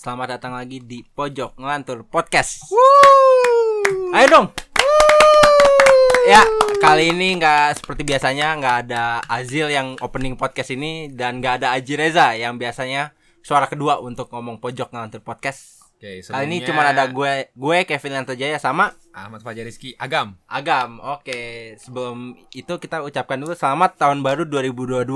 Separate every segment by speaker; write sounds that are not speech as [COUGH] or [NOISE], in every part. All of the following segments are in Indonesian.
Speaker 1: Selamat datang lagi di Pojok Ngelantur Podcast. Ayo dong. Ya, kali ini nggak seperti biasanya nggak ada Azil yang opening podcast ini dan nggak ada Aji Reza yang biasanya suara kedua untuk ngomong Pojok Ngelantur Podcast. Kali
Speaker 2: Oke,
Speaker 1: ini
Speaker 2: sebelumnya,
Speaker 1: cuma ada gue, gue Kevin Lantojaya sama
Speaker 2: Ahmad Fajar Rizky Agam.
Speaker 1: Agam. Oke, sebelum itu kita ucapkan dulu selamat tahun baru 2022.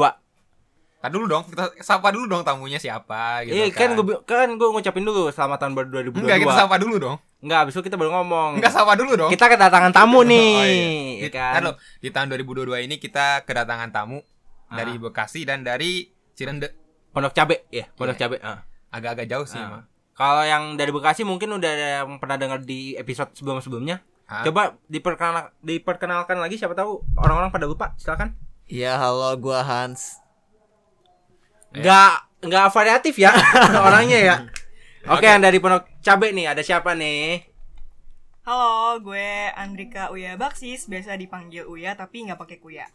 Speaker 2: Tadi dulu dong, kita sapa dulu dong tamunya siapa gitu
Speaker 1: Iya kan
Speaker 2: kan.
Speaker 1: gue bi- kan gue ngucapin dulu selamat tahun baru 2022.
Speaker 2: Enggak, kita sapa dulu dong.
Speaker 1: Nggak, abis itu kita baru ngomong.
Speaker 2: Enggak sapa dulu dong.
Speaker 1: kita kedatangan tamu nih,
Speaker 2: Oh,
Speaker 1: ya
Speaker 2: iya. Di,
Speaker 1: kan?
Speaker 2: kan loh, di tahun 2022 ini kita kedatangan tamu
Speaker 1: Ah.
Speaker 2: dari Bekasi dan dari Cirende.
Speaker 1: Pondok Cabe, ya, Pondok
Speaker 2: Iya.
Speaker 1: Cabe. ah.
Speaker 2: Agak-agak jauh sih,
Speaker 1: Ah.
Speaker 2: emang.
Speaker 1: Kalau yang dari Bekasi mungkin udah ada yang pernah dengar di episode sebelum-sebelumnya.
Speaker 2: Ah.
Speaker 1: Coba diperkenal- diperkenalkan lagi siapa tahu orang-orang pada lupa, silakan.
Speaker 3: Iya, halo gua Hans.
Speaker 2: Iya.
Speaker 1: Nggak nggak variatif
Speaker 2: [LAUGHS]
Speaker 1: ya [LAUGHS] orangnya ya. Oke, yang dari Pondok Cabe nih ada siapa nih?
Speaker 4: Halo, gue Andrika Uya Baksis, biasa dipanggil Uya tapi nggak pakai kuya.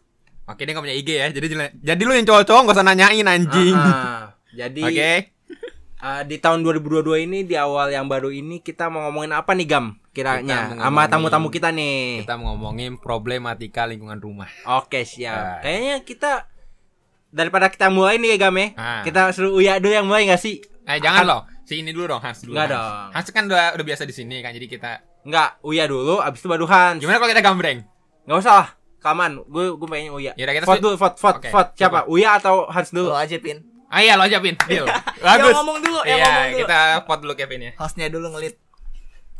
Speaker 2: Oke, dia nggak punya IG ya. Jadi jele- jadi lu yang cowok-cowok gak usah nanyain anjing.
Speaker 1: Ah, jadi
Speaker 2: Oke.
Speaker 1: eh, di tahun 2022 ini di awal yang baru ini kita mau ngomongin apa nih Gam? Kiranya
Speaker 2: Kita mau
Speaker 1: sama
Speaker 2: ngomongin-
Speaker 1: tamu-tamu kita nih.
Speaker 2: Kita mau ngomongin problematika lingkungan rumah.
Speaker 1: Oke siap.
Speaker 2: Nah.
Speaker 1: Kayaknya kita daripada kita mulai nih ya Game,
Speaker 2: Ah.
Speaker 1: kita suruh Uya dulu yang mulai gak sih?
Speaker 2: Eh, jangan
Speaker 1: Hans-
Speaker 2: loh. Si ini dulu dong, Hans dulu.
Speaker 1: Nggak
Speaker 2: Hans.
Speaker 1: dong.
Speaker 2: Hans kan udah, udah biasa di sini kan. Jadi kita
Speaker 1: Enggak, Uya dulu, abis itu baru Hans.
Speaker 2: Gimana kalau kita gambreng?
Speaker 1: Nggak usah lah, kaman. Gue gue pengen Uya.
Speaker 2: Yaudah, kita
Speaker 1: vote
Speaker 2: sui-
Speaker 1: dulu, vote, vote,
Speaker 2: Oke,
Speaker 1: vote. Siapa? Uya atau Hans dulu?
Speaker 3: Lo aja Pin.
Speaker 2: Ah iya lo aja Pin. Deal.
Speaker 4: Yang
Speaker 2: Bagus.
Speaker 4: ngomong dulu, yang
Speaker 2: Iya,
Speaker 4: ngomong dulu.
Speaker 1: gitu.
Speaker 2: kita pot dulu Kevin ya.
Speaker 3: Hostnya dulu ngelit.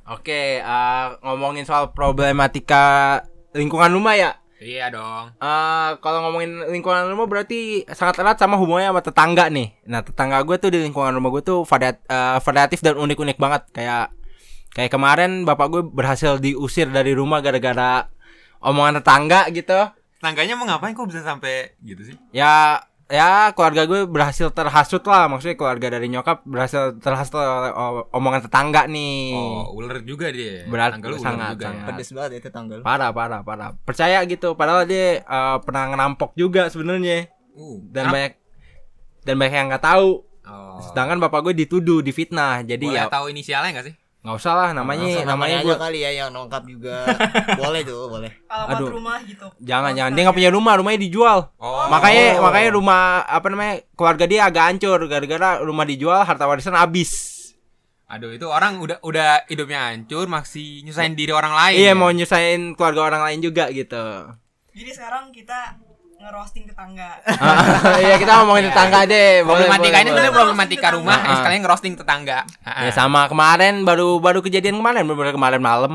Speaker 1: Oke, eh, ngomongin soal problematika lingkungan rumah ya.
Speaker 2: Iya dong.
Speaker 1: Eh, kalau ngomongin lingkungan rumah berarti sangat erat sama hubungannya sama tetangga nih. Nah tetangga gue tuh di lingkungan rumah gue tuh variat- eh, variatif dan unik-unik banget. Kayak kayak kemarin bapak gue berhasil diusir dari rumah gara-gara omongan tetangga gitu.
Speaker 2: Tangganya mau ngapain kok bisa sampai gitu sih?
Speaker 1: Ya ya keluarga gue berhasil terhasut lah. Maksudnya keluarga dari nyokap berhasil terhasut oleh o- omongan tetangga nih.
Speaker 2: Oh, ular juga dia.
Speaker 1: Berat,
Speaker 2: Tangga lu ular
Speaker 1: sangat,
Speaker 2: juga ya.
Speaker 1: sangat.
Speaker 3: Pedes banget itu tanggal.
Speaker 1: Parah parah parah. Percaya gitu. Padahal dia eh, pernah ngerampok juga sebenarnya.
Speaker 2: Uh,
Speaker 1: Dan
Speaker 2: ah.
Speaker 1: banyak dan banyak yang nggak tahu.
Speaker 2: Oh.
Speaker 1: Sedangkan bapak gue dituduh, difitnah. Jadi ya
Speaker 2: Boleh tahu inisialnya gak sih?
Speaker 1: nggak usah lah namanya
Speaker 3: Langsung
Speaker 1: namanya
Speaker 3: aja
Speaker 1: gue
Speaker 3: kali ya yang nongkap juga. boleh tuh, boleh.
Speaker 4: Alamat
Speaker 1: Aduh.
Speaker 4: rumah gitu.
Speaker 1: jangan jangan dia nggak punya rumah, rumahnya dijual.
Speaker 2: Oh.
Speaker 1: Makanya makanya rumah apa namanya keluarga dia agak hancur gara-gara rumah dijual harta warisan habis.
Speaker 2: Aduh, itu orang udah udah hidupnya hancur masih nyusahin diri orang lain.
Speaker 1: Iya
Speaker 2: ya?
Speaker 1: mau nyusahin keluarga orang lain juga gitu. [LAUGHS]
Speaker 4: Jadi sekarang kita ngerosting tetangga.
Speaker 1: Iya kita ngomongin tetangga deh. Boleh,
Speaker 2: problematika ini
Speaker 1: boleh,
Speaker 2: sebenarnya
Speaker 1: boleh.
Speaker 2: problematika rumah,
Speaker 1: Ah.
Speaker 2: yang sekalian ngerosting tetangga. Ah,
Speaker 1: Ya
Speaker 2: ah.
Speaker 1: sama kemarin baru baru kejadian kemarin baru kemarin malam.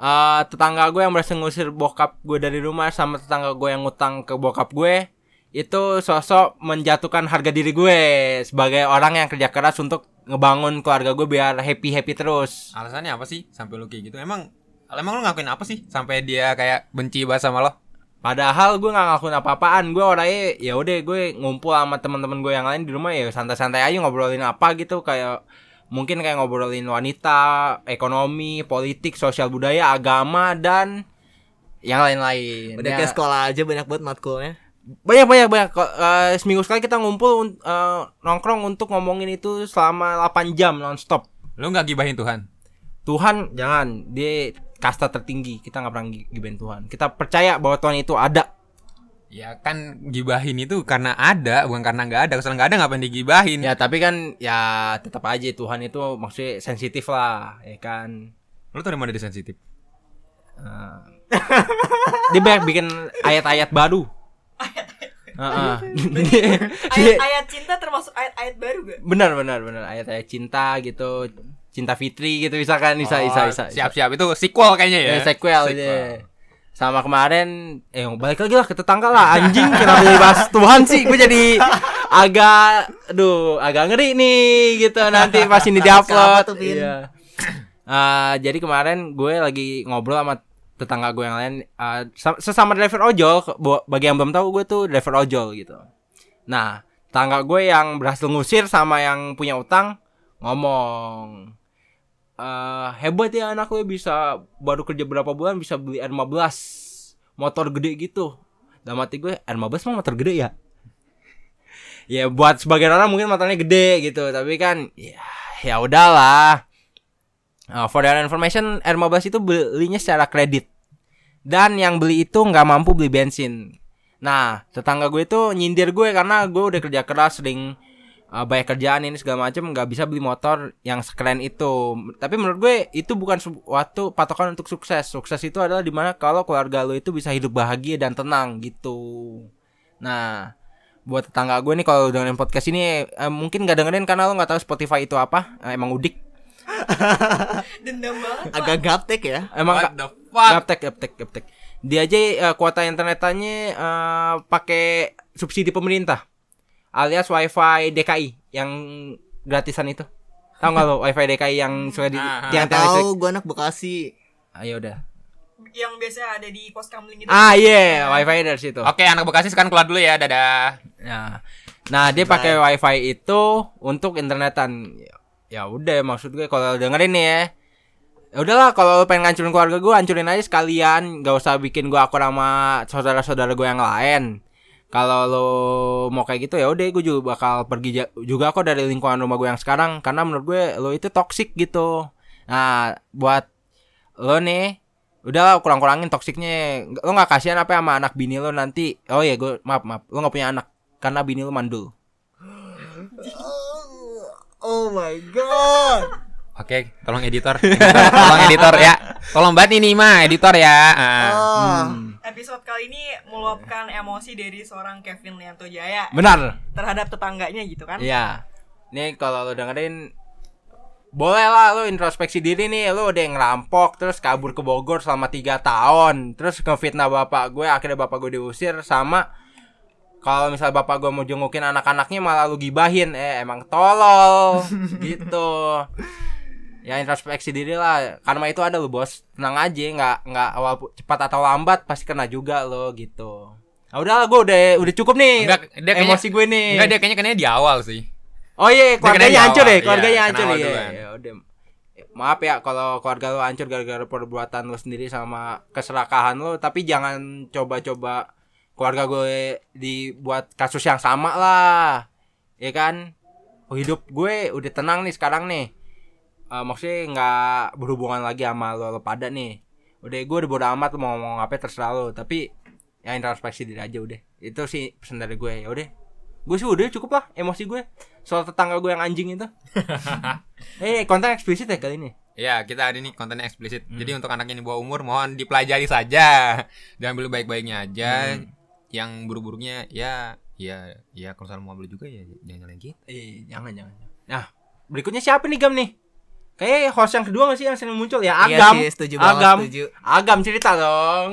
Speaker 1: Eh, tetangga gue yang berhasil ngusir bokap gue dari rumah sama tetangga gue yang ngutang ke bokap gue itu sosok menjatuhkan harga diri gue sebagai orang yang kerja keras untuk ngebangun keluarga gue biar happy happy terus.
Speaker 2: Alasannya apa sih sampai lu kayak gitu? Emang emang lu ngakuin apa sih sampai dia kayak benci banget sama lo?
Speaker 1: Padahal gue nggak ngelakuin apa-apaan gue orangnya ya udah gue ngumpul sama teman-teman gue yang lain di rumah ya santai-santai aja ngobrolin apa gitu kayak mungkin kayak ngobrolin wanita, ekonomi, politik, sosial budaya, agama dan yang lain-lain.
Speaker 3: Udah
Speaker 1: Ya,
Speaker 3: kayak sekolah aja banyak banget matkulnya.
Speaker 1: banyak banyak banyak Ko- eh, seminggu sekali kita ngumpul un- eh, nongkrong untuk ngomongin itu selama 8 jam nonstop.
Speaker 2: Lu nggak gibahin Tuhan?
Speaker 1: Tuhan jangan dia kasta tertinggi kita nggak pernah gi- gibahin Tuhan. Kita percaya bahwa Tuhan itu ada
Speaker 2: Ya kan gibahin itu karena ada, bukan karena nggak ada. Kalau nggak ada ngapain digibahin?
Speaker 1: Ya tapi kan ya tetap aja Tuhan itu maksudnya sensitif lah ya kan.
Speaker 2: Lu tuh dari mana dia sensitif?
Speaker 1: Eh, dia banyak bikin ayat-ayat baru. Heeh. [LAUGHS] Dia-
Speaker 4: Ayat-ayat cinta termasuk ayat-ayat baru gak?
Speaker 1: benar benar benar ayat-ayat cinta gitu, cinta fitri gitu misalkan bisa bisa bisa. bisa.
Speaker 2: Oh, Siap-siap itu sequel iya. kayaknya ya.
Speaker 1: Ya, sequel dia. Sama kemarin eh balik lagi lah ke tetangga lah anjing kenapa jadi bahas Tuhan sih gue jadi agak aduh agak ngeri nih gitu nanti pas ini
Speaker 3: Kenapa
Speaker 1: diupload
Speaker 3: tuh, Vin?
Speaker 1: iya. Eh, jadi kemarin gue lagi ngobrol sama tetangga gue yang lain eh, sa- sesama driver ojol ke- bo- bagi yang belum tahu gue tuh driver ojol gitu nah tetangga gue yang berhasil ngusir sama yang punya utang ngomong eh hebat ya anak gue bisa baru kerja berapa bulan bisa beli R15 motor gede gitu dalam hati gue R15 mah motor gede ya [LAUGHS] ya buat sebagian orang mungkin motornya gede gitu tapi kan ya ya udahlah. Eh, for your information, R15 itu belinya secara kredit. Dan yang beli itu nggak mampu beli bensin. Nah, tetangga gue itu nyindir gue karena gue udah kerja keras sering eh, banyak kerjaan ini segala macem nggak bisa beli motor yang sekeren itu. Tapi menurut gue itu bukan suatu patokan untuk sukses. Sukses itu adalah dimana kalau keluarga lo itu bisa hidup bahagia dan tenang gitu. Nah, buat tetangga gue nih kalau dengerin podcast ini eh, mungkin gak dengerin karena lo nggak tahu Spotify itu apa. Eh, emang udik.
Speaker 4: Dendam banget.
Speaker 3: Agak gaptek ya.
Speaker 1: Emang
Speaker 2: What
Speaker 1: ga-
Speaker 2: the fuck?
Speaker 1: gaptek gaptek gaptek. Dia aja eh, kuota internetannya eh, pakai subsidi pemerintah. Alias WiFi DKI yang gratisan itu. Tahu nggak lo WiFi DKI yang suka di
Speaker 2: Ah,
Speaker 1: tiang tiang listrik?
Speaker 3: Tahu gua anak Bekasi.
Speaker 1: Ayo udah.
Speaker 4: Yang biasa ada di pos kamling itu.
Speaker 1: Ah iya, WiFi dari situ.
Speaker 2: Oke, anak Bekasi sekarang keluar dulu ya. Dadah.
Speaker 1: Nah, nah dia pakai wifi itu untuk internetan. Ya udah maksud gue kalau dengerin nih ya. Ya udahlah kalau lu pengen ngancurin keluarga gue hancurin aja sekalian, gak usah bikin gue akur sama saudara-saudara gue yang lain. Kalau lo mau kayak gitu ya udah gue juga bakal pergi ja- juga kok dari lingkungan rumah gue yang sekarang karena menurut gue lo itu toksik gitu. Nah, buat lo nih udahlah kurang-kurangin toksiknya lo nggak kasihan apa ya sama anak bini lo nanti oh ya gue maaf maaf lo nggak punya anak karena bini lo mandul
Speaker 3: Oh my god.
Speaker 2: Oke, tolong [LAUGHS] editor. Editor, tolong editor ya. Tolong banget ini mah editor ya.
Speaker 1: Oh,
Speaker 2: Ah.
Speaker 3: Ah.
Speaker 4: Hmm. Episode kali ini meluapkan emosi dari seorang Kevin Lianto Jaya
Speaker 1: benar
Speaker 4: terhadap tetangganya gitu kan.
Speaker 1: Iya nih kalau lo dengerin boleh lah lo introspeksi diri nih lo udah ngerampok terus kabur ke Bogor selama tiga tahun terus ngefitnah bapak gue akhirnya bapak gue diusir sama kalau misal bapak gue mau jengukin anak-anaknya malah lu gibahin eh emang tolol gitu ya introspeksi diri lah karma itu ada lo bos tenang aja nggak nggak awal cepat atau lambat pasti kena juga lo gitu ah udahlah gue udah udah cukup nih
Speaker 2: Enggak, dia kayaknya-
Speaker 1: eh, emosi gue nih
Speaker 2: Enggak, dia kayaknya kayaknya di awal sih.
Speaker 1: Oh iya, keluarganya
Speaker 2: kena
Speaker 1: hancur
Speaker 2: nyawa.
Speaker 1: ya, keluarganya
Speaker 2: Iya,
Speaker 1: hancur
Speaker 2: kena
Speaker 1: ya.
Speaker 2: duluan.
Speaker 1: Ya udah. Maaf ya kalau keluarga lo hancur gara-gara perbuatan lo sendiri sama keserakahan lo, tapi jangan coba-coba keluarga gue dibuat kasus yang sama lah. Ya kan? Hidup gue udah tenang nih sekarang nih. Eh, maksudnya nggak berhubungan lagi sama lo, lo pada nih. Udah gue udah bodo amat lo mau ngomong apa terserah lo, tapi ya introspeksi diri aja udah. Itu sih pesan dari gue ya udah. Gue sih udah cukup lah emosi gue soal tetangga gue yang anjing itu. eh konten eksplisit ya kali ini.
Speaker 2: Ya, kita hari ini kontennya eksplisit. Jadi untuk anak yang di bawah umur mohon dipelajari saja. [LAUGHS] Diambil baik-baiknya aja. Yang buruk-buruknya ya ya ya kalau misalnya mau ambil juga ya jangan nyalain kita.
Speaker 1: Eh jangan jangan. Nah berikutnya siapa nih Gam nih? Kayak host yang kedua gak sih yang sering muncul ya
Speaker 3: Iya
Speaker 1: Agam.
Speaker 3: sih, setuju banget,
Speaker 1: Agam.
Speaker 3: setuju.
Speaker 1: Agam cerita dong.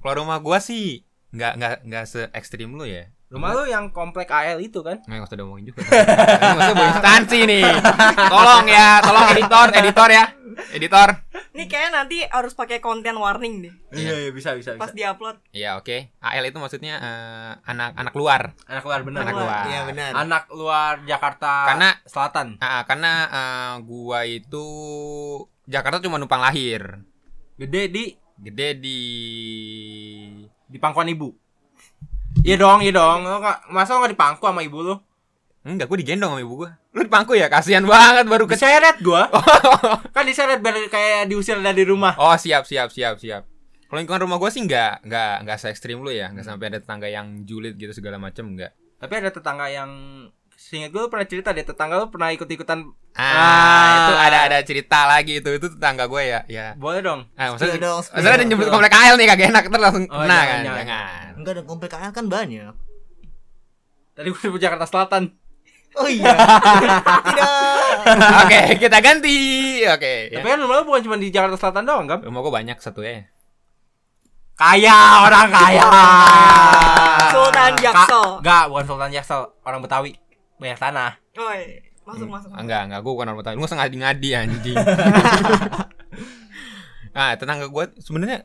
Speaker 2: Keluar rumah gua sih nggak nggak nggak se ekstrim lu ya.
Speaker 1: Rumah lu yang komplek AL itu kan?
Speaker 2: Nggak usah diomongin [LAUGHS] juga. Nggak usah bawa instansi nih. Tolong ya, tolong editor, editor ya, editor.
Speaker 4: Ini kayaknya nanti harus pakai konten warning deh
Speaker 1: Iya iya bisa bisa
Speaker 4: pas diupload.
Speaker 2: Iya oke. AL itu maksudnya eh, anak anak luar.
Speaker 1: Anak luar benar.
Speaker 2: Anak luar.
Speaker 3: Iya benar.
Speaker 1: Anak luar Jakarta
Speaker 2: Karena-
Speaker 1: Selatan.
Speaker 2: Ah, ah, karena eh, gua itu Jakarta cuma numpang lahir.
Speaker 1: Gede di
Speaker 2: Gede di
Speaker 1: di pangkuan ibu. Iya dong, iya dong. Lo nggak masa lo nggak dipangku sama ibu lo?
Speaker 2: Enggak, gua digendong sama ibu gua. Lu dipangku ya? Kasihan banget baru kecil.
Speaker 1: Diseret gua. kan diseret biar kayak diusir dari rumah.
Speaker 2: Oh, siap siap siap siap. Kalau lingkungan rumah gua sih enggak enggak enggak se ekstrim lu ya, enggak sampai ada tetangga yang julid gitu segala macem enggak.
Speaker 1: Tapi ada tetangga yang seingat gue lu pernah cerita deh tetangga lu pernah ikut-ikutan
Speaker 2: Ah,
Speaker 1: Ah.
Speaker 2: itu ada ada cerita lagi itu itu tetangga gue ya ya.
Speaker 1: boleh dong.
Speaker 2: Ah, maksudnya,
Speaker 3: Spill dong, spill
Speaker 2: maksudnya dia
Speaker 3: dong,
Speaker 2: nyebut
Speaker 3: spill.
Speaker 2: komplek KL nih kagak enak terus langsung
Speaker 1: Oh,
Speaker 2: kena
Speaker 1: jangan,
Speaker 2: kan.
Speaker 1: jangan.
Speaker 2: Jangan.
Speaker 3: Enggak ada komplek KL kan banyak.
Speaker 1: Tadi gue sebut Jakarta Selatan.
Speaker 3: Oh iya. [LAUGHS] Tidak.
Speaker 2: [LAUGHS] Oke, kita ganti. Oke. ya.
Speaker 1: Tapi kan rumah lu bukan cuma di Jakarta Selatan doang, kan?
Speaker 2: Rumah gue banyak satu ya.
Speaker 1: Kaya, orang kaya. Ah,
Speaker 4: Sultan Jaksel.
Speaker 2: Oh.
Speaker 1: Enggak, bukan Sultan Jaksel, orang Betawi. Banyak tanah.
Speaker 4: Oi,
Speaker 1: Hmm.
Speaker 4: masuk masuk. masuk.
Speaker 2: Enggak, enggak gue bukan orang Betawi. Lu nggak ngadi-ngadi anjing. nah, tetangga gue sebenarnya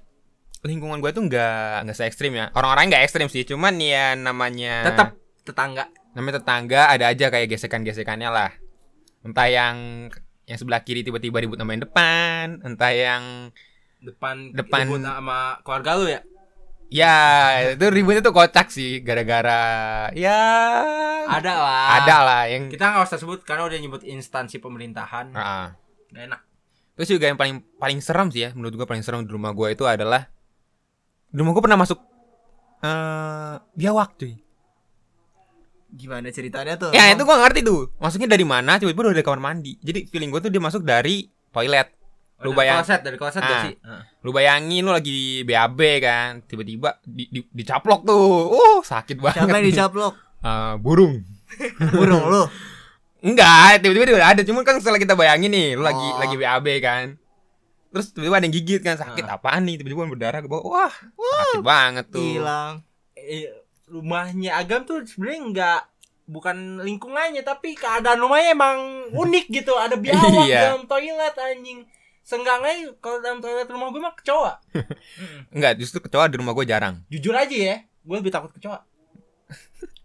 Speaker 2: lingkungan gue tuh enggak enggak se ekstrim ya. Orang-orangnya enggak ekstrim sih, cuman ya namanya
Speaker 1: Tetap tetangga.
Speaker 2: namanya tetangga ada aja kayak gesekan-gesekannya lah entah yang yang sebelah kiri tiba-tiba ribut sama yang depan entah yang
Speaker 1: depan
Speaker 2: Depan-
Speaker 1: ribut sama keluarga lu ya
Speaker 2: Ya, itu ributnya tuh kocak sih gara-gara ya
Speaker 1: Ada lah.
Speaker 2: ada lah yang
Speaker 1: Kita nggak usah sebut karena udah nyebut instansi pemerintahan.
Speaker 2: Ah.
Speaker 1: Gak enak.
Speaker 2: Terus juga yang paling paling serem sih ya, menurut gua paling serem di rumah gua itu adalah di rumah gua pernah masuk eh biawak cuy.
Speaker 3: Gimana ceritanya tuh?
Speaker 2: Ya itu gua ngerti tuh. Masuknya dari mana? Tiba-tiba udah dari kamar mandi. Jadi feeling gua tuh dia masuk dari toilet. Lu
Speaker 1: Dari
Speaker 2: bayang,
Speaker 1: kloset dari kloset gak
Speaker 2: Ah.
Speaker 1: sih? Heeh.
Speaker 2: lu bayangin lu lagi di BAB kan, tiba-tiba di, di- dicaplok tuh. Uh, sakit banget.
Speaker 3: Siapa yang dicaplok?
Speaker 2: Eh, burung.
Speaker 3: Burung lu.
Speaker 2: Enggak, tiba-tiba udah ada. Cuman kan setelah kita bayangin nih, lu lagi
Speaker 3: Oh.
Speaker 2: lagi BAB kan. Terus tiba-tiba ada yang gigit kan, sakit apaan nih? Tiba-tiba berdarah ke bawah. Wah, sakit banget tuh.
Speaker 3: Hilang.
Speaker 1: Eh, rumahnya Agam tuh sebenarnya nggak bukan lingkungannya tapi keadaan rumahnya emang
Speaker 2: [LAUGHS]
Speaker 1: unik gitu ada biawak
Speaker 2: Iya.
Speaker 1: dalam toilet anjing senggangannya kalau dalam toilet rumah gue mah kecoa
Speaker 2: Enggak, justru kecoa di rumah gue jarang.
Speaker 1: jujur aja ya gue lebih takut kecoa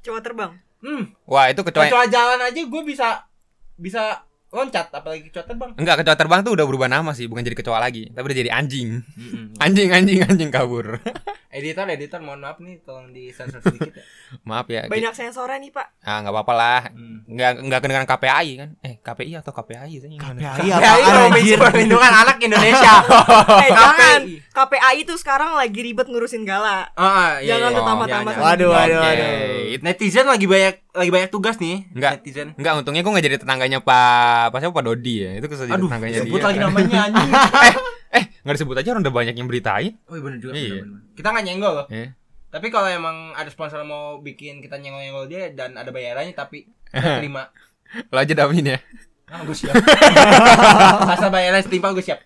Speaker 4: Coba terbang.
Speaker 1: hmm
Speaker 2: Wah, itu kecoa.
Speaker 1: kecoa jalan aja gue bisa bisa loncat apalagi kecoa terbang
Speaker 2: Enggak, kecoa terbang tuh udah berubah nama sih, bukan jadi kecoa lagi, tapi udah jadi anjing. [LAUGHS] Anjing, anjing, anjing kabur. [LAUGHS]
Speaker 1: editor editor mohon maaf nih tolong disensor sedikit ya
Speaker 2: Maaf ya. Ki-
Speaker 4: Banyak sensornya nih, Pak.
Speaker 2: Ah, enggak apa-apa lah.
Speaker 1: hmm.
Speaker 2: Enggak enggak kedengeran KPI kan? Eh, KPI atau KPI sih gimana?
Speaker 3: KPI
Speaker 1: Ya, ini
Speaker 3: apaan
Speaker 1: Komisi
Speaker 3: anjir?
Speaker 2: [LAUGHS]
Speaker 1: Perlindungan Anak Indonesia.
Speaker 4: eh, jangan. KPAI itu sekarang lagi ribet ngurusin gala.
Speaker 1: Ah, iya,
Speaker 4: Jangan
Speaker 1: iya.
Speaker 4: lu tambah-tambah.
Speaker 1: Jangan,
Speaker 4: sama
Speaker 3: Waduh,
Speaker 4: dia.
Speaker 3: waduh,
Speaker 2: Oke,
Speaker 3: waduh.
Speaker 2: itu-
Speaker 1: Netizen lagi banyak lagi banyak tugas nih.
Speaker 2: Enggak.
Speaker 1: Netizen.
Speaker 2: Enggak, untungnya gue gak jadi tetangganya Pak Pak siapa Pak Dodi ya. Itu kesel jadi
Speaker 1: Aduh,
Speaker 2: tetangganya
Speaker 1: sebut
Speaker 2: dia.
Speaker 1: lagi
Speaker 2: [LAUGHS]
Speaker 1: namanya anjing.
Speaker 2: Eh, enggak disebut aja orang udah banyak yang beritain.
Speaker 1: Oh, iya bener juga. bener,
Speaker 2: Iya.
Speaker 1: bener. Kita nggak nyenggol loh.
Speaker 2: Eh.
Speaker 1: Tapi kalau emang ada sponsor mau bikin kita nyenggol-nyenggol dia dan ada bayarannya
Speaker 2: [LAUGHS]
Speaker 1: tapi kita terima.
Speaker 2: Lo aja damin ya.
Speaker 1: Ah, gue
Speaker 2: [LAUGHS]
Speaker 1: siap. Asal bayarnya setimpal gue siap.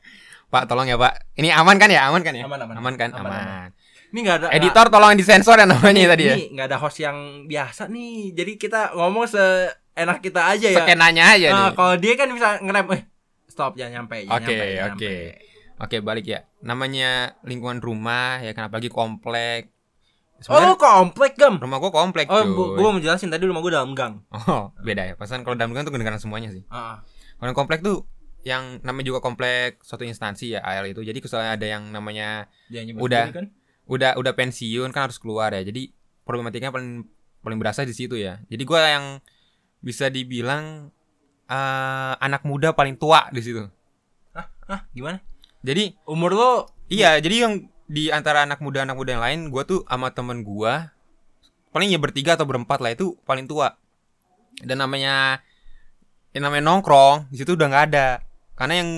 Speaker 2: Pak, tolong ya, Pak. Ini aman kan ya? Aman kan ya?
Speaker 1: Aman, aman.
Speaker 2: kan?
Speaker 1: Aman,
Speaker 2: Aman.
Speaker 1: Ini nggak ada
Speaker 2: Editor tolong disensor
Speaker 1: Kan
Speaker 2: ya namanya tadi ya.
Speaker 1: Ini nggak ada host yang biasa nih. Jadi kita ngomong seenak kita aja ya.
Speaker 2: Skenanya aja
Speaker 1: Ah,
Speaker 2: nih.
Speaker 1: kalau dia kan bisa ngerem, eh stop jangan nyampe, jangan
Speaker 2: Oke,
Speaker 1: nyampe, jangan
Speaker 2: oke.
Speaker 1: nyampe. Oh,
Speaker 2: Oke, balik ya. Namanya lingkungan rumah ya kan apalagi komplek.
Speaker 1: Oh, lu
Speaker 2: Sebenarnya
Speaker 1: komplek gam.
Speaker 2: rumah gua komplek
Speaker 1: Oh,
Speaker 2: cuy.
Speaker 1: bu- gua mau jelasin tadi rumah gua dalam gang.
Speaker 2: Oh, beda ya. Pasan kalau dalam gang tuh kedengaran semuanya sih.
Speaker 1: Ah,
Speaker 2: Kalau yang komplek tuh yang namanya juga komplek suatu instansi ya AL itu. Jadi misalnya ada yang namanya
Speaker 1: dia nyebut
Speaker 2: Udah.
Speaker 1: sendiri kan?
Speaker 2: udah udah pensiun kan harus keluar ya jadi problematikanya paling paling berasa di situ ya jadi gua yang bisa dibilang eh anak muda paling tua di situ
Speaker 1: Hah, gimana?
Speaker 2: jadi
Speaker 1: Umur lo
Speaker 2: iya jadi yang di antara anak muda anak muda yang lain gua tuh sama temen gua paling ya bertiga atau berempat lah itu paling tua dan namanya yang namanya nongkrong di situ udah nggak ada karena yang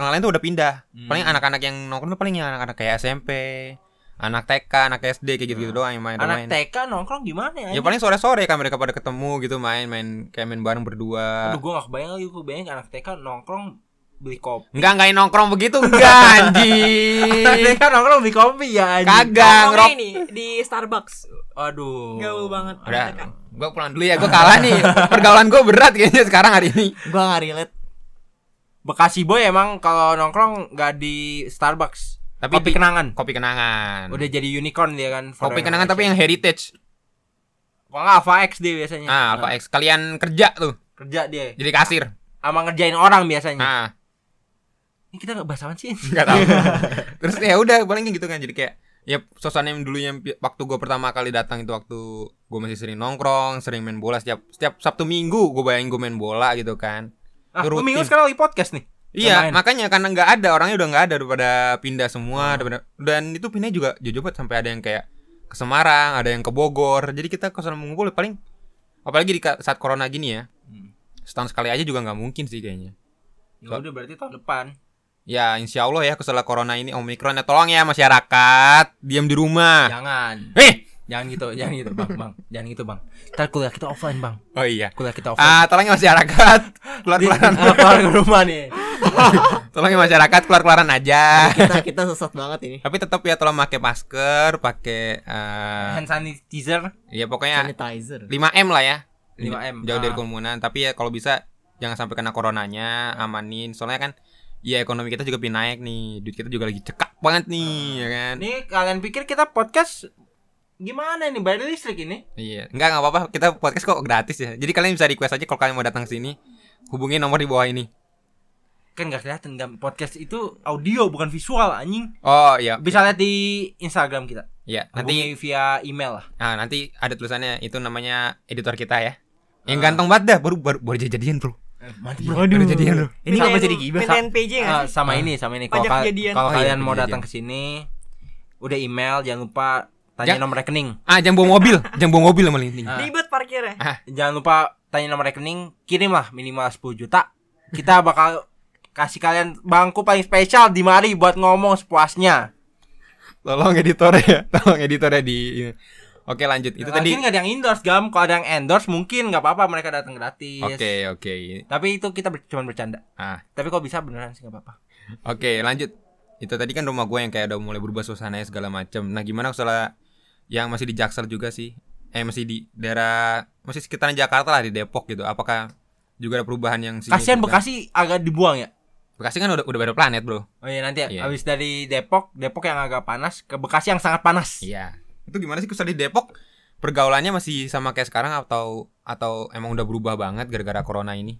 Speaker 2: yang lain tuh udah pindah
Speaker 1: Hmm.
Speaker 2: paling anak-anak yang nongkrong tuh paling ya anak-anak kayak SMP anak TK anak SD kayak gitu-gitu doang yang main
Speaker 1: Hmm. anak
Speaker 2: main
Speaker 1: TK nongkrong gimana ya?
Speaker 2: ya paling sore-sore kan mereka pada ketemu gitu main main kayak main bareng berdua
Speaker 1: Aduh, gua gak kebayang lagi gua bayangin anak TK nongkrong beli kopi.
Speaker 2: enggak enggak yang nongkrong begitu enggak
Speaker 1: [LAUGHS] Anak
Speaker 2: anjing
Speaker 1: TK nongkrong beli kopi ya anjing.
Speaker 2: kagak
Speaker 4: Nongkrongnya
Speaker 2: ngerok
Speaker 4: ini di Starbucks.
Speaker 1: Aduh.
Speaker 4: Gaul banget.
Speaker 2: udah
Speaker 4: Katakan.
Speaker 2: gue pulang dulu ya gue kalah nih pergaulan gue berat kayaknya sekarang hari ini
Speaker 3: Gua nggak relate.
Speaker 1: Bekasi boy emang kalau nongkrong gak di Starbucks.
Speaker 2: Tapi
Speaker 1: kopi
Speaker 2: di-
Speaker 1: kenangan.
Speaker 2: kopi kenangan
Speaker 1: Udah jadi unicorn dia kan.
Speaker 2: Kan. kopi kenangan tapi yang heritage
Speaker 1: Kalau nggak Alpha X dia biasanya.
Speaker 2: ah apa X kalian kerja tuh
Speaker 1: Kerja dia.
Speaker 2: jadi kasir
Speaker 1: Ama ngerjain orang biasanya.
Speaker 2: ah
Speaker 1: Ini kita nggak bahas apaan sih?
Speaker 2: nggak [LAUGHS] tahu terus ya udah paling kayak gitu kan jadi kayak ya suasana yang dulu yang pi- waktu gue pertama kali datang itu waktu gue masih sering nongkrong sering main bola setiap setiap sabtu minggu gue bayangin gue main bola gitu kan
Speaker 1: Ah, lu
Speaker 2: Rutin.
Speaker 1: minggu sekarang lagi podcast nih.
Speaker 2: iya
Speaker 1: Main.
Speaker 2: makanya karena nggak ada orangnya udah nggak ada daripada pindah
Speaker 1: Hmm.
Speaker 2: semua daripada, dan itu pindah juga jauh banget sampai ada yang kayak ke Semarang ada yang ke Bogor jadi kita kesana mengumpul paling apalagi di ka- saat corona gini ya
Speaker 1: Hmm.
Speaker 2: setahun sekali aja juga nggak mungkin sih kayaknya
Speaker 1: Ya udah berarti tahun depan.
Speaker 2: ya insya Allah ya kesalahan corona ini omikron ya tolong ya masyarakat diam di rumah
Speaker 1: Jangan.
Speaker 2: Eh.
Speaker 1: Jangan gitu, jangan gitu, Bang, Bang. Jangan gitu, Bang. Ntar kuliah kita offline, Bang.
Speaker 2: Oh iya.
Speaker 1: Kuliah kita offline.
Speaker 2: Ah, tolong ya
Speaker 1: [LAUGHS]
Speaker 2: masyarakat.
Speaker 1: Di-
Speaker 2: Keluar-keluaran.
Speaker 1: [LAUGHS] ah, keluar ke rumah nih.
Speaker 2: [LAUGHS] tolong ya masyarakat keluar-keluaran aja.
Speaker 3: Kita kita sesat banget
Speaker 1: [LAUGHS]
Speaker 3: ini.
Speaker 2: Tapi tetap ya tolong pakai masker, pakai eh
Speaker 1: Hand sanitizer
Speaker 2: ya pokoknya
Speaker 3: Sanitizer.
Speaker 2: 5M lah ya.
Speaker 1: 5M.
Speaker 2: Jauh dari
Speaker 1: Ah.
Speaker 2: kerumunan, tapi ya kalau bisa jangan sampai kena coronanya, amanin. Soalnya kan ya ekonomi kita juga pin naik nih. Duit kita juga lagi cekak banget nih,
Speaker 1: Ah.
Speaker 2: ya kan.
Speaker 1: Ini kalian pikir kita podcast gimana nih bayar listrik ini?
Speaker 2: Iya, enggak enggak apa-apa. Kita podcast kok gratis ya. Jadi kalian bisa request aja kalau kalian mau datang ke sini. Hubungi nomor di bawah ini.
Speaker 1: Kan gak kelihatan Gam. podcast itu audio bukan visual anjing.
Speaker 2: Oh iya,
Speaker 1: Bisa lihat di Instagram kita.
Speaker 2: Iya, nanti
Speaker 1: Nanti via email lah.
Speaker 2: ah, nanti ada tulisannya itu namanya editor kita ya. Yang
Speaker 1: Ah.
Speaker 2: ganteng banget dah, baru baru, baru jadi jadian, Bro. Baru jadian, Bro.
Speaker 3: Ini kenapa jadi gibah?
Speaker 4: Pindahin PJ nggak
Speaker 1: Eh,
Speaker 4: sih?
Speaker 1: sama ini, sama ini. Kalau
Speaker 4: Pajak
Speaker 1: kal-
Speaker 4: jadian.
Speaker 1: kalau
Speaker 2: Oh, iya,
Speaker 1: kalian mau
Speaker 2: pajak
Speaker 1: datang ke sini, udah email, jangan lupa tanya
Speaker 2: Jangan-
Speaker 1: nomor rekening.
Speaker 2: Ah, jangan bawa mobil, jangan bawa mobil sama ini.
Speaker 1: Ah.
Speaker 4: Ribet parkirnya.
Speaker 1: Jangan lupa tanya nomor rekening, kirimlah minimal 10 juta.
Speaker 2: [LAUGHS]
Speaker 1: Kita bakal kasih kalian bangku paling spesial di mari buat ngomong sepuasnya.
Speaker 2: Tolong editornya [LAUGHS] ya, tolong editornya di ini. Oke, lanjut. Itu tadi.
Speaker 1: Lagian nggak ada yang endorse gam, kalau ada yang endorse mungkin nggak apa-apa mereka datang gratis.
Speaker 2: Oke, oke.
Speaker 1: Tapi itu kita ber- cuman bercanda.
Speaker 2: Ah,
Speaker 1: Tapi kalau bisa beneran sih nggak apa-apa.
Speaker 2: Oke lanjut Itu tadi kan rumah gue yang kayak udah mulai berubah suasananya segala macam Nah gimana soal yang masih di Jaksel juga sih Eh masih di daerah Masih sekitaran Jakarta lah di Depok gitu Apakah juga ada perubahan yang
Speaker 1: Kasihan
Speaker 2: signifikan?
Speaker 1: Bekasi agak dibuang ya.
Speaker 2: Bekasi kan udah, udah beda planet bro
Speaker 1: Oh iya nanti
Speaker 2: Iya.
Speaker 1: habis dari Depok, Depok yang agak panas ke Bekasi yang sangat panas.
Speaker 2: Iya Itu gimana sih kalau di Depok Pergaulannya masih sama kayak sekarang atau atau emang udah berubah banget gara-gara corona ini?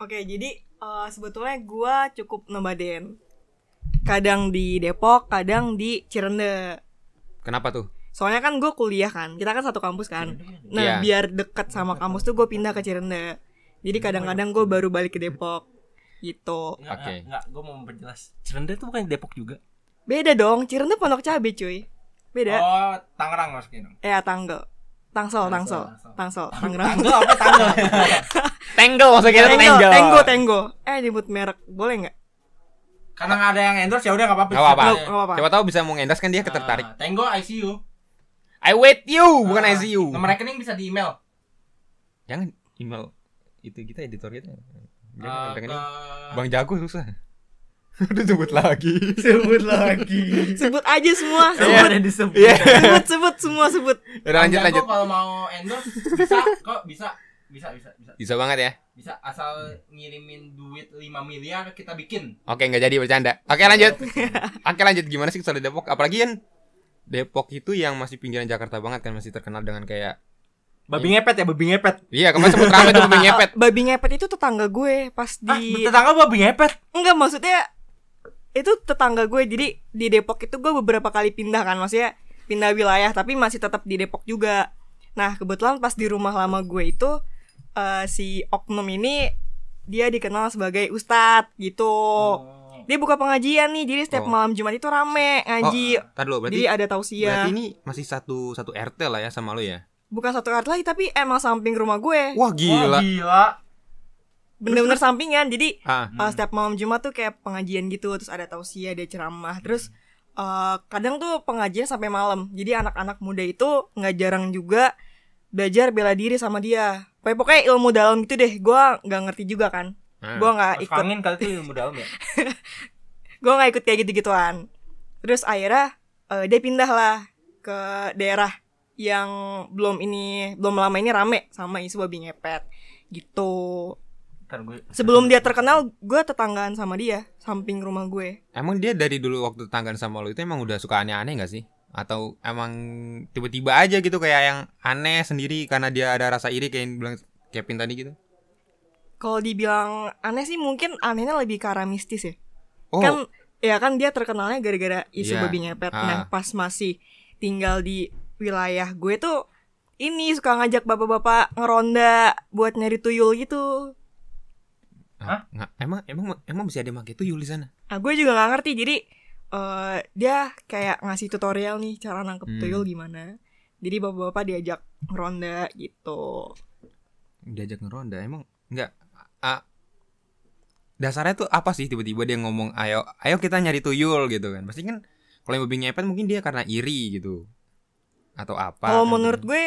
Speaker 4: Oke, jadi eh, sebetulnya gua cukup nomaden. Kadang di Depok, kadang di Cirende.
Speaker 2: Kenapa tuh?
Speaker 4: Soalnya kan gue kuliah kan, kita kan satu kampus kan.
Speaker 2: Iya.
Speaker 4: Nah, biar dekat sama kampus tuh gue pindah ke Cirende. Jadi kadang-kadang gue baru balik ke Depok. Gitu.
Speaker 1: Enggak,
Speaker 2: Oke.
Speaker 1: enggak, enggak, gue mau memperjelas. Cirende tuh bukan di Depok juga.
Speaker 4: Beda dong, Cirende Pondok Cabe cuy. Beda.
Speaker 1: Oh, Tangerang maksudnya dong.
Speaker 4: Eh, Tanggel. Tangsel, Tangsel. [LAUGHS] Tangsel, Tangerang.
Speaker 1: Tanggel apa Tanggel?
Speaker 2: Tenggel maksudnya
Speaker 4: Tenggo, Tenggo, Tenggo. Eh, nyebut merek. Boleh nggak?
Speaker 1: [LAUGHS] Karena enggak ada yang endorse ya udah enggak apa-apa.
Speaker 2: Gak apa-apa.
Speaker 4: Nggak- nggak apa-apa.
Speaker 2: Siapa tahu bisa mengendas kan dia ketertarik.
Speaker 1: Ah, Tenggo ICU.
Speaker 2: I wait you, bukan
Speaker 1: Ah,
Speaker 2: ICU.
Speaker 1: Nomor rekening bisa di email.
Speaker 2: Jangan email itu kita editor kita. Jangan
Speaker 1: Eh,
Speaker 2: pengen
Speaker 1: ke-
Speaker 2: Bang Jago susah. [LAUGHS] Udah sebut lagi.
Speaker 3: Sebut lagi.
Speaker 4: Sebut aja semua,
Speaker 3: Semua
Speaker 1: Iya.
Speaker 4: sebut.
Speaker 3: udah disebut.
Speaker 4: sebut, sebut semua sebut.
Speaker 2: Udah
Speaker 1: Bang
Speaker 2: lanjut
Speaker 1: Jago
Speaker 2: lanjut.
Speaker 1: Kalau mau endorse bisa kok bisa bisa bisa bisa
Speaker 2: Bisa banget ya.
Speaker 1: bisa asal ngirimin duit 5 miliar kita bikin.
Speaker 2: Oke nggak jadi bercanda. Oke lanjut. Oke lanjut gimana sih soal Depok? Apalagi kan Depok itu yang masih pinggiran Jakarta banget kan masih terkenal dengan kayak
Speaker 1: Babi ngepet ya, babi ngepet.
Speaker 2: iya kemarin sempat ramai tuh pemain
Speaker 4: [LAUGHS]
Speaker 2: nyepet.
Speaker 4: Eh, babi ngepet itu tetangga gue pas
Speaker 1: Ah,
Speaker 4: di
Speaker 1: tetangga babi ngepet.
Speaker 4: enggak maksudnya itu tetangga gue jadi di Depok itu gue beberapa kali pindah kan maksudnya pindah wilayah tapi masih tetap di Depok juga nah kebetulan pas di rumah lama gue itu eh, si oknum ini dia dikenal sebagai ustadz gitu
Speaker 1: Oh.
Speaker 4: dia buka pengajian nih jadi setiap
Speaker 2: Oh.
Speaker 4: malam Jumat itu rame ngaji
Speaker 2: Tadi lo Oh, berarti
Speaker 4: jadi ada
Speaker 2: berarti
Speaker 4: tausiah
Speaker 2: ini masih satu satu RT lah ya sama lo ya.
Speaker 4: bukan satu RT lagi tapi emang samping rumah gue
Speaker 1: Wah,
Speaker 2: Wah gila.
Speaker 1: gila.
Speaker 4: bener-bener sampingan jadi
Speaker 2: Ah,
Speaker 4: Uh, setiap malam Jumat tuh kayak pengajian gitu terus ada tausiah ada ceramah terus uh, kadang tuh pengajian sampai malam jadi anak-anak muda itu nggak jarang juga belajar bela diri sama dia pokoknya, pokoknya ilmu dalam gitu deh gua nggak ngerti juga kan
Speaker 2: Hmm.
Speaker 4: gua nggak
Speaker 1: Mas
Speaker 4: ikut
Speaker 1: Fangin kali itu ilmu dalam ya.
Speaker 4: gua nggak ikut kayak gitu gituan terus akhirnya uh, dia pindah lah ke daerah yang belum ini belum lama ini rame sama isu babi ngepet gitu
Speaker 1: Ntar gue
Speaker 4: sebelum dia terkenal gua tetanggaan sama dia samping rumah gue
Speaker 2: Emang dia dari dulu waktu tetanggaan sama lo itu emang udah suka aneh-aneh gak sih? Atau emang tiba-tiba aja gitu kayak yang aneh sendiri karena dia ada rasa iri kayak yang bilang Kevin tadi gitu?
Speaker 4: Kalau dibilang aneh sih mungkin anehnya lebih ke arah mistis ya.
Speaker 2: Oh,
Speaker 4: Kan ya kan dia terkenalnya gara-gara isu
Speaker 2: Iya.
Speaker 4: babi ngepet.
Speaker 2: Ah.
Speaker 4: Nah, pas masih tinggal di wilayah gue tuh ini suka ngajak bapak-bapak ngeronda buat nyari tuyul gitu.
Speaker 2: ah, nggak, emang emang emang bisa ada yang make tuyul di sana?
Speaker 4: Nah, gue juga nggak ngerti. Jadi eh, dia kayak ngasih tutorial nih cara nangkep
Speaker 2: Hmm.
Speaker 4: tuyul gimana. Jadi bapak-bapak diajak ngeronda gitu.
Speaker 2: Diajak ngeronda emang nggak? Ah, dasarnya tuh apa sih tiba-tiba dia ngomong ayo ayo kita nyari tuyul gitu kan? Pasti kan kalau yang babi ngepet mungkin dia karena iri gitu atau apa?
Speaker 4: Kalau
Speaker 2: kan
Speaker 4: menurut
Speaker 2: gitu.
Speaker 4: gue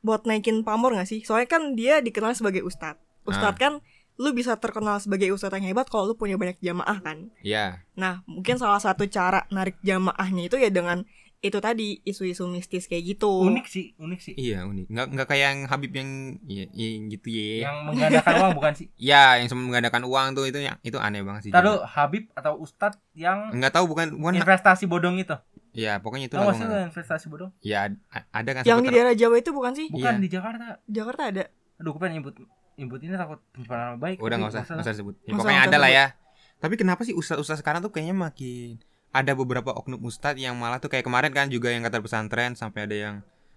Speaker 4: buat naikin pamor gak sih? Soalnya kan dia dikenal sebagai ustadz.
Speaker 1: Nah.
Speaker 4: Ustadz kan lu bisa terkenal sebagai ustadz yang hebat kalau lu punya banyak jamaah kan.
Speaker 2: Iya.
Speaker 4: Nah, mungkin salah satu cara narik jamaahnya itu ya dengan itu tadi isu-isu mistis kayak gitu.
Speaker 1: unik sih, unik sih.
Speaker 2: Iya unik. Nggak nggak kayak yang Habib yang iya, iya, gitu ya.
Speaker 1: Yang menggandakan uang bukan
Speaker 2: [LAUGHS]
Speaker 1: sih?
Speaker 2: Ya, yang sama menggandakan uang tuh itu itu aneh banget sih.
Speaker 1: Taruh Habib atau Ustadz yang
Speaker 2: Enggak tahu bukan bukan
Speaker 1: investasi bodong itu.
Speaker 2: ya pokoknya itu
Speaker 1: Tahu
Speaker 2: lah
Speaker 1: nggak sih
Speaker 2: gua
Speaker 1: lo
Speaker 2: nggak-
Speaker 1: investasi bodong?
Speaker 2: Ya a- ada
Speaker 1: Nah,
Speaker 2: kan
Speaker 4: Yang di
Speaker 2: sempat-
Speaker 4: daerah Jawa itu bukan sih?
Speaker 1: Bukan
Speaker 2: Iya.
Speaker 1: di Jakarta.
Speaker 4: Jakarta ada.
Speaker 1: Aduh, gue pengen nyebut nyebut ini takut pencemaran nama baik.
Speaker 2: udah
Speaker 1: tapi
Speaker 2: nggak usah
Speaker 1: nggak
Speaker 2: nggak usah disebut. Ya,
Speaker 4: Nggak usah,
Speaker 2: pokoknya
Speaker 4: nggak
Speaker 2: ada
Speaker 4: usah
Speaker 2: lah ya. Tapi kenapa sih usaha-usaha sekarang tuh kayaknya makin ada beberapa oknum ustadz yang malah tuh kayak kemarin kan juga yang kata pesantren sampai ada yang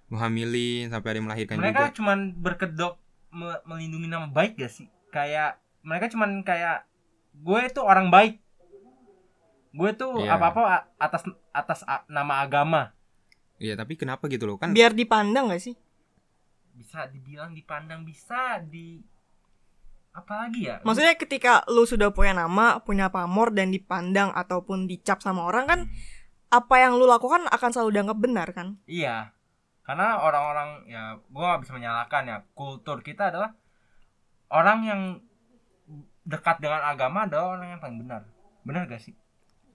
Speaker 2: menghamilin sampai ada yang melahirkan juga.
Speaker 1: mereka kan? cuman berkedok me- melindungi nama baik gak sih kayak mereka cuman kayak gue tuh orang baik gue tuh
Speaker 2: Iya.
Speaker 1: apa apa atas atas a- nama agama
Speaker 2: Iya, tapi kenapa gitu loh? Kan
Speaker 4: biar dipandang gak sih
Speaker 1: bisa dibilang dipandang bisa di apa lagi ya
Speaker 4: maksudnya ketika lu sudah punya nama punya pamor dan dipandang ataupun dicap sama orang kan apa yang lu lakukan akan selalu dianggap benar kan
Speaker 1: Iya. Karena orang-orang ya gue gak bisa menyalahkan ya kultur kita adalah orang yang dekat dengan agama adalah orang yang paling benar. Benar gak sih?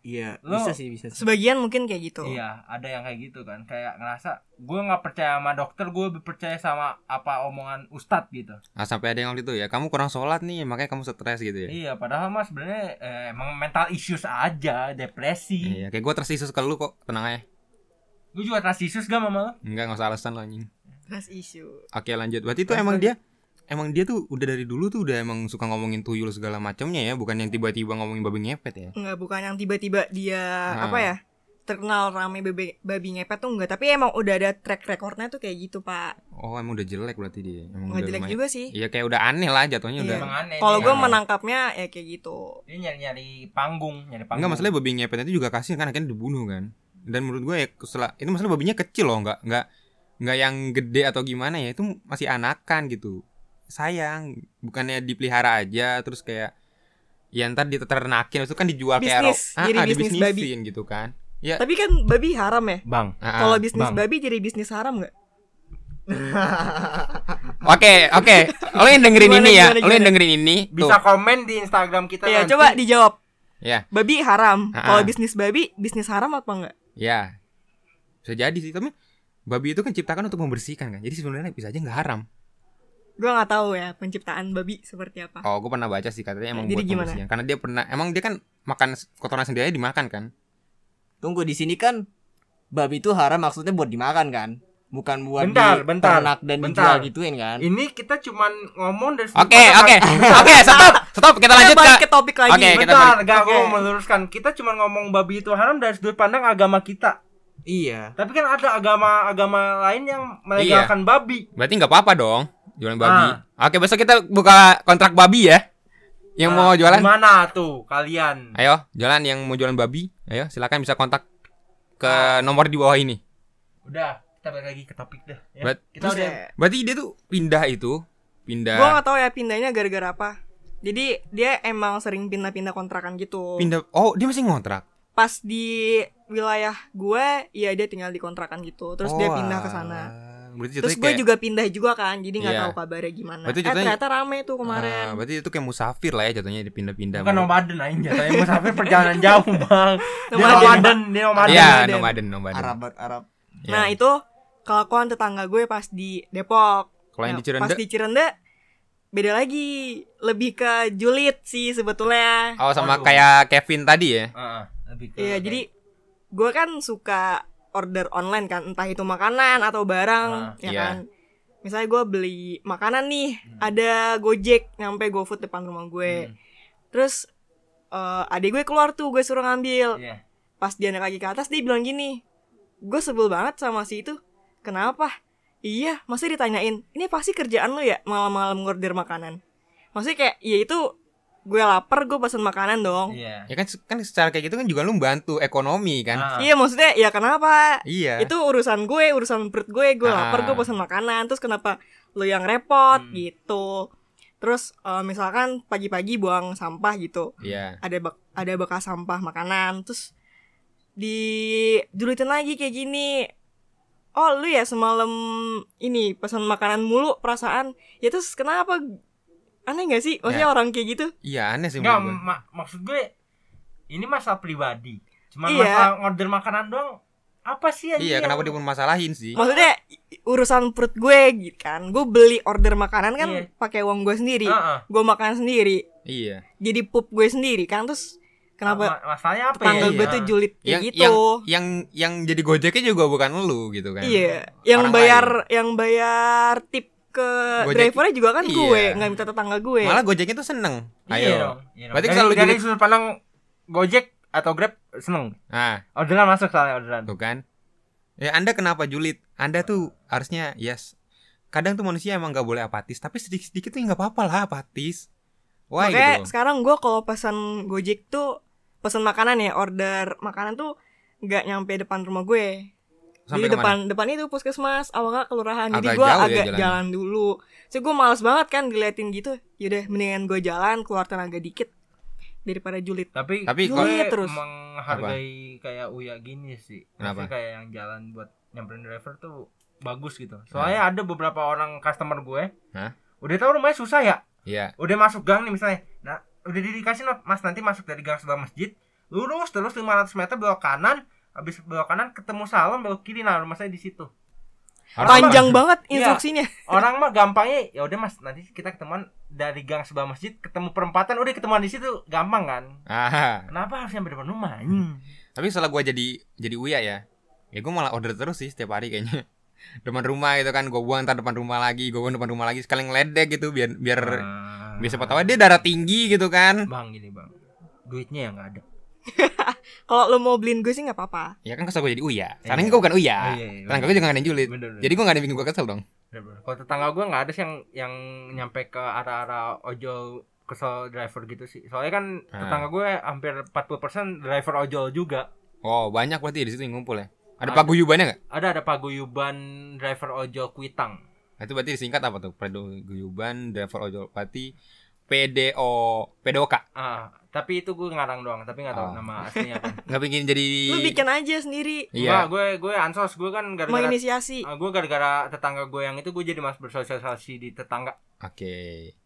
Speaker 3: Iya,
Speaker 1: Lo-
Speaker 3: bisa sih, bisa sih.
Speaker 4: sebagian mungkin kayak gitu
Speaker 1: Iya, ada yang kayak gitu kan. Kayak ngerasa gue nggak percaya sama dokter, gue lebih percaya sama apa omongan ustadz gitu.
Speaker 2: ah, sampai ada yang waktu itu ya, kamu kurang sholat nih, makanya kamu stres gitu ya.
Speaker 1: Iya, padahal mas sebenarnya eh, emang mental issues aja, depresi.
Speaker 2: Iya, kayak gue tersisus ke lu kok, tenang aja.
Speaker 1: Gue juga trust issues gak mama lo?
Speaker 2: Enggak, nggak usah alasan lo anjing.
Speaker 4: trust issue
Speaker 2: Oke, lanjut. Berarti itu emang dia emang dia tuh udah dari dulu tuh udah emang suka ngomongin tuyul segala macamnya ya, bukan yang tiba-tiba ngomongin babi ngepet ya.
Speaker 4: nggak bukan yang tiba-tiba dia
Speaker 2: Ah.
Speaker 4: apa ya terkenal rame babi, babi ngepet tuh enggak tapi emang udah ada track recordnya tuh kayak gitu pak
Speaker 2: Oh, emang udah jelek berarti dia. Emang
Speaker 4: nggak
Speaker 2: udah
Speaker 4: jelek
Speaker 2: lumayan-
Speaker 4: juga sih
Speaker 2: Iya, kayak udah aneh lah jatuhnya
Speaker 4: Iya.
Speaker 2: udah.
Speaker 1: Emang aneh.
Speaker 4: kalau
Speaker 1: dia.
Speaker 4: gue
Speaker 2: Ah.
Speaker 4: menangkapnya ya kayak gitu
Speaker 1: dia nyari-nyari panggung, nyari panggung.
Speaker 2: Enggak masalahnya babi ngepet itu juga kasihan kan akhirnya dibunuh kan. Dan menurut gue ya setelah itu masalah babinya kecil loh, enggak enggak enggak yang gede atau gimana ya, itu masih anakan gitu. Sayang, bukannya dipelihara aja terus kayak ya ntar diternakin itu kan dijual kayak
Speaker 4: Bisnis,
Speaker 2: ro- Ah,
Speaker 4: jadi
Speaker 2: ah,
Speaker 4: bisnis
Speaker 2: dibisnisin
Speaker 4: babi.
Speaker 2: gitu kan. Ya.
Speaker 4: tapi kan babi haram ya
Speaker 1: Bang,
Speaker 2: ah, ah.
Speaker 4: kalau bisnis
Speaker 1: bang.
Speaker 4: babi jadi bisnis haram nggak
Speaker 2: Oke, oke. Lo yang dengerin
Speaker 4: Gimana,
Speaker 2: ini ya,
Speaker 4: gimana,
Speaker 2: lo yang
Speaker 4: gimana?
Speaker 2: dengerin ini
Speaker 1: bisa
Speaker 2: tuh.
Speaker 1: komen di Instagram kita
Speaker 4: ya
Speaker 1: nanti.
Speaker 4: coba dijawab
Speaker 2: Ya,
Speaker 4: babi haram
Speaker 2: Ah,
Speaker 4: kalau
Speaker 2: ah.
Speaker 4: bisnis babi bisnis haram apa enggak
Speaker 2: ya. Bisa jadi sih, tapi babi itu kan ciptakan untuk membersihkan kan. Jadi sebenarnya bisa aja nggak haram.
Speaker 4: gue nggak tahu ya penciptaan babi seperti apa
Speaker 2: Oh, gue pernah baca sih katanya emang
Speaker 4: Jadi
Speaker 2: buat
Speaker 4: gimana?
Speaker 2: pembersihan. Karena dia pernah, emang dia kan makan kotoran sendiri aja dimakan kan?
Speaker 3: Tunggu di sini kan babi itu haram maksudnya buat dimakan kan? Bukan buat
Speaker 1: Bentar, bentar,
Speaker 3: diternak dan
Speaker 1: bentar.
Speaker 3: dijual gituin kan?
Speaker 1: Ini kita cuman ngomong dari sudut
Speaker 2: Oke,
Speaker 1: pandang-
Speaker 4: [LAUGHS]
Speaker 2: oke, oke, stop, stop, kita
Speaker 4: Kita
Speaker 2: lanjut ke.
Speaker 4: balik ke topik lagi
Speaker 2: Oke, kita
Speaker 1: Bentar,
Speaker 2: balik.
Speaker 1: gak
Speaker 4: Oke.
Speaker 1: mau meluruskan. Kita cuman ngomong babi itu haram dari sudut pandang agama kita.
Speaker 3: Iya.
Speaker 1: Tapi kan ada agama-agama lain yang
Speaker 2: Iya.
Speaker 1: melegalkan babi.
Speaker 2: Berarti nggak apa-apa dong jualan babi.
Speaker 1: Ah.
Speaker 2: Oke, besok kita buka kontrak babi ya. Yang
Speaker 4: Ah,
Speaker 2: mau
Speaker 1: Nah,
Speaker 2: jualan,
Speaker 1: Gimana tuh kalian?
Speaker 2: ayo jualan yang mau jualan babi, ayo silakan bisa kontak
Speaker 4: Ah.
Speaker 2: ke nomor di bawah ini.
Speaker 1: Udah, kita balik lagi ke topik dah. ya.
Speaker 2: Bet-
Speaker 1: Kita
Speaker 4: Terus
Speaker 1: udah
Speaker 4: ya,
Speaker 2: Berarti dia tuh pindah itu, pindah,
Speaker 4: gue nggak tahu ya pindahnya gara-gara apa jadi dia emang sering pindah-pindah kontrakan gitu
Speaker 2: pindah. Oh, dia masih ngontrak.
Speaker 4: pas di wilayah gue ya dia tinggal di kontrakan gitu terus dia
Speaker 2: Oh,
Speaker 4: pindah ke sana
Speaker 2: ah. Berarti
Speaker 4: terus
Speaker 2: jatuhnya
Speaker 4: gue
Speaker 2: kayak-
Speaker 4: juga pindah juga kan jadi nggak
Speaker 2: Iya.
Speaker 4: tahu kabarnya gimana
Speaker 2: Berarti
Speaker 4: eh
Speaker 2: jatuhnya-
Speaker 4: ternyata rame tuh
Speaker 2: Ah,
Speaker 4: kemarin
Speaker 2: berarti itu kayak musafir lah ya jatuhnya dia pindah-pindah.
Speaker 1: bukan nomaden aja, jatuhnya musafir perjalanan jauh, Bang. Dia
Speaker 4: Nomaden.
Speaker 1: nomaden, dia nomaden.
Speaker 2: Iya,
Speaker 4: nomaden.
Speaker 2: nomaden, nomaden.
Speaker 3: Arab Arab.
Speaker 2: Iya.
Speaker 4: nah itu kelakuan tetangga gue pas di Depok
Speaker 2: Kalau yang
Speaker 4: Nah,
Speaker 2: di Cirende,
Speaker 4: pas di Cirende beda lagi lebih ke julid sih sebetulnya
Speaker 2: oh sama
Speaker 1: Waduh.
Speaker 2: kayak Kevin tadi ya.
Speaker 1: Heeh, Ah, lebih ke-
Speaker 4: Iya, jadi gue kan suka order online kan, entah itu makanan atau
Speaker 2: Ah,
Speaker 4: barang, ya
Speaker 2: iya.
Speaker 4: kan. Misalnya gue beli makanan nih, ada Gojek nyampe GoFood depan rumah gue.
Speaker 1: Hmm.
Speaker 4: Terus eh adik gue keluar tuh, gue suruh ngambil.
Speaker 1: Iya.
Speaker 4: Pas dia naik lagi ke atas, dia bilang gini, gue sebel banget sama si itu. Kenapa? Iya, masa ditanyain, ini pasti kerjaan lu ya malam-malam ngorder makanan. Maksudnya kayak, ya itu gue lapar, gue pesan makanan dong.
Speaker 1: Iya.
Speaker 2: Ya kan kan secara kayak gitu kan juga lu bantu ekonomi kan.
Speaker 1: Ah,
Speaker 4: Iya, maksudnya ya kenapa?
Speaker 1: ya.
Speaker 2: Iya.
Speaker 4: itu urusan gue urusan perut gue gue
Speaker 2: Ah.
Speaker 4: lapar gue pesan makanan terus kenapa lu yang repot
Speaker 1: Hmm.
Speaker 4: gitu terus eh, misalkan pagi-pagi buang sampah gitu
Speaker 2: Iya.
Speaker 4: ada bak- ada bekas sampah makanan terus dijulitin lagi kayak gini oh lu ya semalam ini pesan makanan mulu perasaan ya terus kenapa aneh gak sih
Speaker 1: Ya.
Speaker 4: maksudnya orang kayak gitu
Speaker 2: Iya aneh sih
Speaker 1: Enggak,
Speaker 2: menurut gua.
Speaker 1: ma- maksud gue ini masalah pribadi. Cuman
Speaker 4: Iya.
Speaker 1: masalah order makanan doang. Apa sih anjing
Speaker 2: Iya,
Speaker 1: yang-
Speaker 2: kenapa dia pun masalahin
Speaker 1: Iya.
Speaker 2: sih?
Speaker 4: maksudnya i- urusan perut gue gitu kan gue beli order makanan kan
Speaker 1: Iya. Ah.
Speaker 4: pakai uang gue sendiri
Speaker 1: Heeh.
Speaker 4: gue makan sendiri
Speaker 2: Iya.
Speaker 4: jadi pup gue sendiri kan terus kenapa
Speaker 1: Ma- masalahnya apa ya?
Speaker 4: tetangga
Speaker 2: Iya.
Speaker 4: gue tuh julid kayak
Speaker 2: Yang
Speaker 4: gitu
Speaker 2: yang yang jadi Gojeknya juga bukan lu gitu kan.
Speaker 4: iya yang
Speaker 2: Orang
Speaker 4: bayar
Speaker 2: lain.
Speaker 4: yang bayar tip ke
Speaker 2: Gojek-
Speaker 4: drivernya juga kan
Speaker 2: Iya.
Speaker 4: gue nggak minta tetangga gue
Speaker 2: Malah Gojeknya tuh seneng.
Speaker 1: Iya
Speaker 2: Ayo.
Speaker 1: dong. Iya dong.
Speaker 2: Berarti
Speaker 1: dari,
Speaker 2: kalau
Speaker 1: dari
Speaker 2: jadi-
Speaker 1: sudut pandang Gojek atau Grab seneng.
Speaker 2: Nah,
Speaker 1: Orderan masuk soalnya orderan.
Speaker 2: tuh kan. Ya Anda kenapa julid? Anda tuh harusnya yes. Kadang tuh manusia emang nggak boleh apatis, tapi sedikit-sedikit tuh ya nggak apa-apa lah apatis. Why
Speaker 4: Makanya
Speaker 2: gitu?
Speaker 4: sekarang gue kalau pesan Gojek tuh pesan makanan ya order makanan tuh nggak nyampe depan rumah gue.
Speaker 2: Sampai
Speaker 4: Jadi
Speaker 2: kemana?
Speaker 4: depan depan itu puskesmas, awal nggak kelurahan. Jadi
Speaker 2: Agak
Speaker 4: gue
Speaker 2: jauh ya
Speaker 4: agak
Speaker 2: jalannya.
Speaker 4: jalan dulu. So gue males banget kan diliatin gitu. Yaudah mendingan gue jalan keluar tenaga dikit daripada julid.
Speaker 1: Tapi
Speaker 2: Tapi
Speaker 1: gue
Speaker 4: kalau- Iya, terus.
Speaker 1: menghargai kayak Uya gini sih.
Speaker 2: Kenapa?
Speaker 1: Maksudnya kayak yang jalan buat nyamperin driver tuh bagus gitu. Soalnya ada beberapa orang customer gue.
Speaker 2: Hah?
Speaker 1: Udah tahu rumahnya susah ya.
Speaker 2: Iya.
Speaker 1: Udah masuk gang nih misalnya. Nah, udah dikasih not, Mas nanti masuk dari gang sebelah masjid, lurus terus 500 meter belok kanan, habis belok kanan ketemu salon belok kiri nah rumah saya di situ.
Speaker 2: Harus
Speaker 4: Panjang banget
Speaker 1: Iya.
Speaker 4: instruksinya.
Speaker 1: Orang mah gampangnya ya udah Mas nanti kita ketemuan dari gang sebelah masjid ketemu perempatan udah ketemuan di situ gampang kan.
Speaker 2: Ah,
Speaker 1: Kenapa harus nyampe depan rumah? anjing?
Speaker 2: tapi setelah gua jadi jadi uya ya, ya gue malah order terus sih setiap hari kayaknya. [LAUGHS] Depan rumah gitu kan, gue buang ntar depan rumah lagi, gue buang depan rumah lagi, sekalian ngeledek gitu biar biar
Speaker 1: Ah.
Speaker 2: biar siapa tahu dia darah tinggi gitu kan.
Speaker 1: Bang gini bang Duitnya yang gak ada
Speaker 4: Kalau lo mau beliin gue sih nggak apa-apa.
Speaker 2: Ya kan kesel gue jadi uya. Sekarang
Speaker 1: Iya.
Speaker 2: gue bukan uya.
Speaker 1: Iya, iya,
Speaker 2: Sekarang
Speaker 1: bener.
Speaker 2: gue juga gak ada yang julid.
Speaker 1: Bener, bener.
Speaker 2: Jadi gue gak ada yang bikin gue kesel dong.
Speaker 1: Bener, Iya, bener. Kalau tetangga gue gak ada sih yang Yang nyampe ke arah-arah ojol Kesel driver gitu sih Soalnya kan
Speaker 2: Ah.
Speaker 1: tetangga gue hampir 40% driver ojol juga
Speaker 2: Oh banyak berarti di situ yang ngumpul ya. Ada
Speaker 1: Ada.
Speaker 2: paguyubannya nggak?
Speaker 1: Ada ada paguyuban driver ojol kuitang
Speaker 2: Nah, Itu berarti disingkat apa tuh? Paguyuban Driver Ojol Pati PDO PDOK.
Speaker 1: ah, Tapi itu gue ngarang doang Tapi gak tahu
Speaker 2: Oh.
Speaker 1: nama aslinya [LAUGHS] apa
Speaker 2: Nggak bikin jadi.
Speaker 1: Iya.
Speaker 4: Lo bikin aja sendiri.
Speaker 1: Enggak,
Speaker 2: Iya.
Speaker 1: gue, gue ansos Gue kan gara-gara
Speaker 4: Menginisiasi.
Speaker 1: ah, Gue gara-gara tetangga gue yang itu Gue jadi mas bersosialisasi di tetangga
Speaker 2: Oke.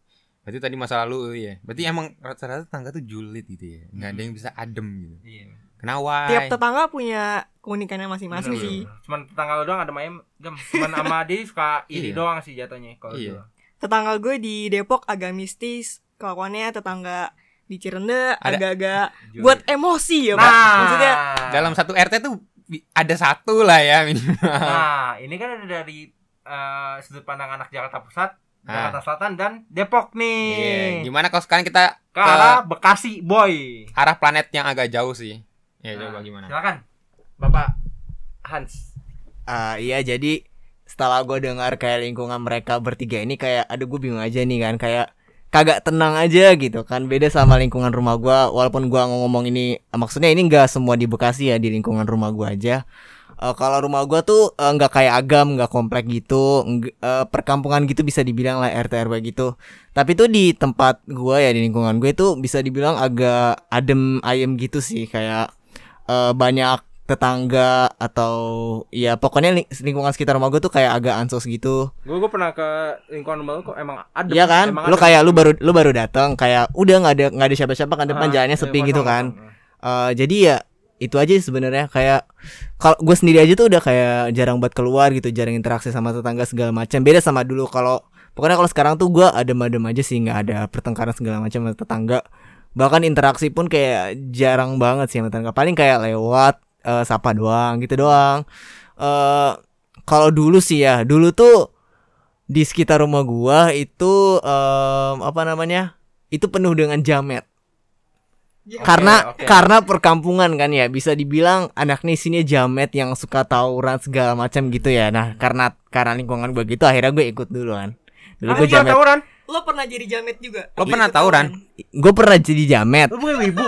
Speaker 2: Berarti tadi masa lalu ya. Berarti emang rata-rata tangga tuh julid gitu ya. Nggak ada
Speaker 1: Hmm.
Speaker 2: yang bisa adem gitu.
Speaker 1: Iya
Speaker 2: Kenapa?
Speaker 4: Tiap tetangga punya keunikannya masing-masing
Speaker 1: Bener,
Speaker 4: sih.
Speaker 1: bener. Cuman tetangga lo doang ada main gem. Cuman sama dia suka iri
Speaker 2: Iya.
Speaker 1: doang sih jatuhnya kalau
Speaker 2: Iya.
Speaker 1: gua.
Speaker 4: Tetangga gue di Depok agak mistis. Kelakuannya tetangga di Cirende
Speaker 2: Ada-
Speaker 4: agak-agak buat emosi ya, Pak.
Speaker 1: nah,
Speaker 4: Maksudnya
Speaker 1: dalam
Speaker 2: Dalam satu RT tuh bi- ada satu lah ya
Speaker 4: Hmm.
Speaker 2: minimal.
Speaker 3: Ah.
Speaker 1: nah, ini kan ada dari eh, sudut pandang anak Jakarta Pusat,
Speaker 2: Ah.
Speaker 1: Jakarta Selatan dan Depok nih.
Speaker 2: Iya. Gimana kalau sekarang kita
Speaker 1: Ke arah Bekasi, boy.
Speaker 2: arah planet yang agak jauh sih? Ya
Speaker 1: Nah,
Speaker 2: coba gimana?
Speaker 1: Silakan. Bapak Hans.
Speaker 3: Ah iya jadi setelah gue dengar kayak lingkungan mereka bertiga ini kayak aduh gue bingung aja nih kan kayak kagak tenang aja gitu kan beda sama lingkungan rumah gue walaupun gue ngomong ini ah, maksudnya ini enggak semua di Bekasi ya di lingkungan rumah gue aja Eh, kalau rumah gue tuh eh, nggak kayak agam nggak komplek gitu nggak- eh, perkampungan gitu bisa dibilang lah RT RW gitu tapi tuh di tempat gue ya di lingkungan gue tuh bisa dibilang agak adem ayem gitu sih kayak eh, banyak tetangga atau ya pokoknya ling- lingkungan sekitar rumah gue tuh kayak agak ansos gitu
Speaker 1: Gue gue pernah ke lingkungan rumah lu kok emang ada.
Speaker 3: Iya kan lu kayak lu baru lu baru datang kayak udah nggak ada nggak ada siapa-siapa
Speaker 1: Ah,
Speaker 3: kan
Speaker 1: iya,
Speaker 3: depan jalannya sepi gitu kan Eh, jadi ya itu aja sih sebenarnya kayak kalau gue sendiri aja tuh udah kayak jarang buat keluar gitu jarang interaksi sama tetangga segala macam beda sama dulu kalau pokoknya kalau sekarang tuh gue adem-adem aja sih nggak ada pertengkaran segala macam sama tetangga bahkan interaksi pun kayak jarang banget sih sama tetangga paling kayak lewat eh, sapa doang gitu doang eh kalau dulu sih ya dulu tuh di sekitar rumah gua itu em, apa namanya itu penuh dengan jamet karena karena perkampungan kan ya bisa dibilang anak nih sini jamet yang suka tawuran segala macam gitu ya nah karena karena lingkungan gue gitu akhirnya gue ikut duluan dulu
Speaker 1: Lu
Speaker 3: gue jamet
Speaker 1: tawuran.
Speaker 4: lo pernah jadi jamet juga?
Speaker 2: Lo pernah
Speaker 1: Gitu.
Speaker 2: tawuran?
Speaker 3: gue pernah jadi jamet
Speaker 1: Lu bukan ibu.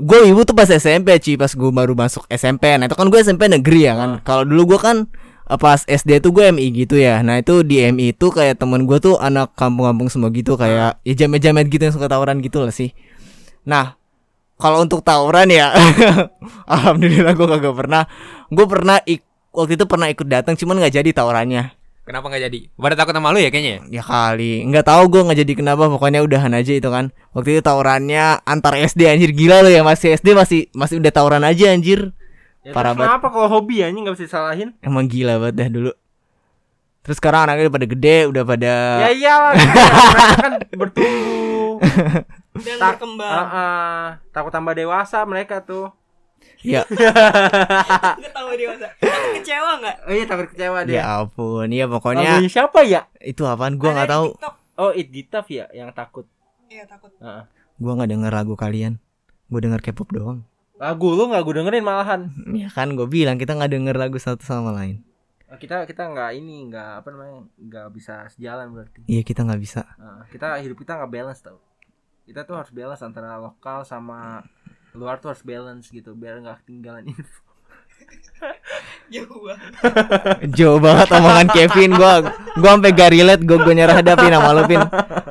Speaker 3: gue ibu tuh pas SMP cuy pas gue baru masuk SMP nah itu kan gue SMP negeri ya kan kalau dulu gue kan eh, pas SD tuh gue MI gitu ya Nah itu di MI itu kayak temen gue tuh anak kampung-kampung semua gitu Kayak ya jamet-jamet gitu yang suka tawuran gitu lah sih Nah kalau untuk tawuran ya [LAUGHS] Alhamdulillah gue kagak pernah Gue pernah ik- waktu itu pernah ikut datang cuman nggak jadi tawurannya
Speaker 2: Kenapa nggak jadi? Pada takut sama lu ya kayaknya. ya?
Speaker 3: Ya kali nggak tahu gue nggak jadi kenapa pokoknya udahan aja itu kan Waktu itu tawurannya antar SD anjir gila lo ya masih SD masih masih udah tawuran aja anjir
Speaker 1: Ya,
Speaker 3: Parah
Speaker 1: terus
Speaker 3: banget.
Speaker 1: Kenapa kalau hobi anjing enggak bisa disalahin?
Speaker 3: Emang gila banget dah dulu Terus sekarang anaknya udah pada gede udah pada
Speaker 1: Ya
Speaker 3: [LAUGHS]
Speaker 1: iyalah mereka kan bertumbuh
Speaker 4: Dan
Speaker 1: Tak-
Speaker 4: berkembang.
Speaker 1: Heeh. Ah, takut tambah dewasa mereka tuh
Speaker 3: ya
Speaker 4: Gue tahu dewasa.
Speaker 1: [LAUGHS]
Speaker 4: Lo kecewa nggak?
Speaker 1: oh, iya takut kecewa
Speaker 3: ya
Speaker 1: dia
Speaker 3: ampun ya pokoknya
Speaker 1: lagunya siapa ya
Speaker 3: itu apaan gua nggak
Speaker 4: Ada di
Speaker 3: tahu
Speaker 4: TikTok.
Speaker 1: oh it Gitaf ya yang takut
Speaker 4: Iya takut.
Speaker 1: Heeh.
Speaker 3: gua nggak denger lagu kalian gue denger K-pop doang
Speaker 1: Lagu lu nggak gue dengerin malahan.
Speaker 3: Ya kan gue bilang kita nggak denger lagu satu sama lain.
Speaker 1: Eh, Kita kita nggak ini nggak apa namanya nggak bisa sejalan berarti.
Speaker 3: Iya kita nggak bisa.
Speaker 1: Eh, kita hidup kita nggak balance tau. Kita tuh harus balance antara lokal sama luar tuh harus balance gitu biar nggak ketinggalan info. [LAUGHS] Ya
Speaker 4: Jauh banget.
Speaker 3: Jauh banget omongan Kevin gua gua sampai gak relate gua gua nyerah hadapin sama lo, Pin.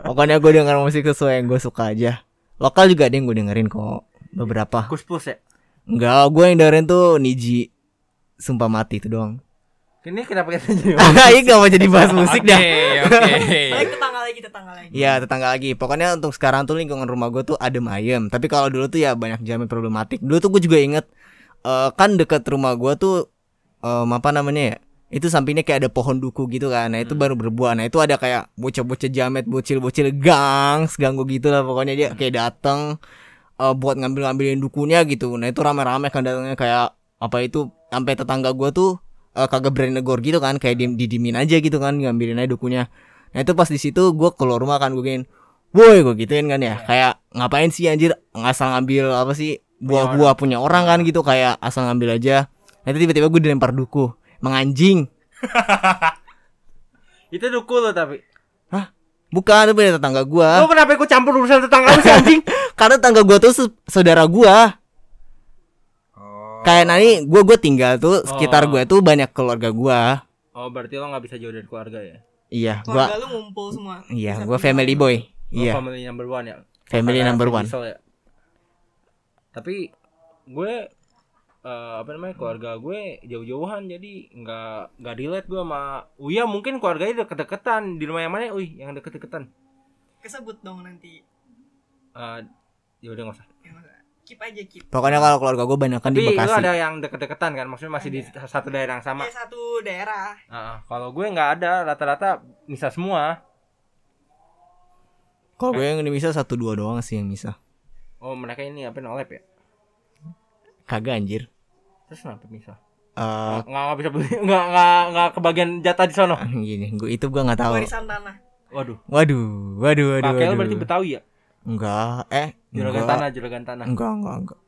Speaker 3: Pokoknya gua denger musik sesuai yang gua suka aja. Lokal juga ada yang gua dengerin kok beberapa.
Speaker 1: Kus plus ya.
Speaker 3: Enggak, gua yang dengerin tuh Niji Sumpah mati itu doang. [LAUGHS]
Speaker 1: Ini kenapa kita jadi
Speaker 3: Ini gak mau jadi bahas musik dah.
Speaker 2: Oke, oke.
Speaker 1: Iya.
Speaker 4: Balik tetangga lagi, tetangga lagi.
Speaker 3: Ya tetangga lagi. Pokoknya untuk sekarang tuh lingkungan rumah gue tuh adem ayem. Tapi kalau dulu tuh ya banyak jamin problematik. Dulu tuh gue juga inget eh, kan deket rumah gue tuh eh, apa namanya ya? Itu sampingnya kayak ada pohon duku gitu kan. Nah itu baru berbuah. Nah itu ada kayak bocah-bocah jamet, bocil-bocil gangs, ganggu gitu lah. Pokoknya dia kayak dateng eh, buat ngambil-ngambilin dukunya gitu. Nah itu rame-rame kan datangnya kayak apa itu sampai tetangga gue tuh eh, kagak berani negor gitu kan kayak dim- didimin aja gitu kan ngambilin aja dukunya nah itu pas di situ gue keluar rumah kan gue gituin woi gue gituin kan ya kayak ngapain sih anjir ngasal ngambil apa sih buah-buah punya orang kan gitu kayak asal ngambil aja nah itu tiba-tiba gue dilempar duku menganjing
Speaker 1: Itu duku lo tapi.
Speaker 3: hah bukan itu punya tetangga gue [LAUGHS]
Speaker 1: Lo kenapa ikut campur urusan tetangga lu sih anjing?
Speaker 3: karena tetangga gue tuh se- saudara gue
Speaker 2: Oh.
Speaker 3: kayak nah, nani gue gue tinggal tuh sekitar gue tuh banyak keluarga gue
Speaker 1: Oh berarti lo nggak bisa jauh dari keluarga ya?
Speaker 3: iya gue
Speaker 4: Keluarga lu ngumpul semua.
Speaker 3: Iya,
Speaker 4: Satu
Speaker 3: gue family boy.
Speaker 1: Lo
Speaker 3: Iya,
Speaker 1: family number one ya?
Speaker 3: family
Speaker 1: Karena
Speaker 3: number
Speaker 1: aku
Speaker 3: one.
Speaker 1: nyesel ya. Tapi gue eh, apa namanya keluarga gue jauh-jauhan jadi nggak nggak relate gue sama Uya mungkin keluarganya deket-deketan di rumah yang mana Uy yang deket-deketan
Speaker 4: Kesebut dong nanti. Iya,
Speaker 1: Eh, ya udah nggak usah
Speaker 4: Keep aja keep.
Speaker 3: Pokoknya kalau keluarga gue banyak kan di
Speaker 1: tapi lu
Speaker 3: Bekasi.
Speaker 1: ada yang deket-deketan kan maksudnya masih di satu daerah yang sama
Speaker 4: Ya satu daerah.
Speaker 1: Ah, ah. kalau gue nggak ada rata-rata bisa semua
Speaker 3: Kalau
Speaker 1: Eh.
Speaker 3: gue yang bisa satu dua doang sih yang bisa.
Speaker 1: oh mereka ini apa nolep ya
Speaker 3: Kagak anjir.
Speaker 1: terus kenapa bisa
Speaker 3: Eh,
Speaker 1: nggak nggak bisa beli nggak nggak nggak kebagian jatah di sono
Speaker 3: [LAUGHS] gini, gue itu gue nggak tahu.
Speaker 4: Warisan tanah.
Speaker 1: waduh
Speaker 3: Waduh, waduh, waduh.
Speaker 1: kakek lu
Speaker 3: waduh.
Speaker 1: berarti betawi ya
Speaker 3: Enggak, eh,
Speaker 1: juragan
Speaker 3: enggak,
Speaker 1: tanah juragan tanah
Speaker 3: enggak, enggak, enggak.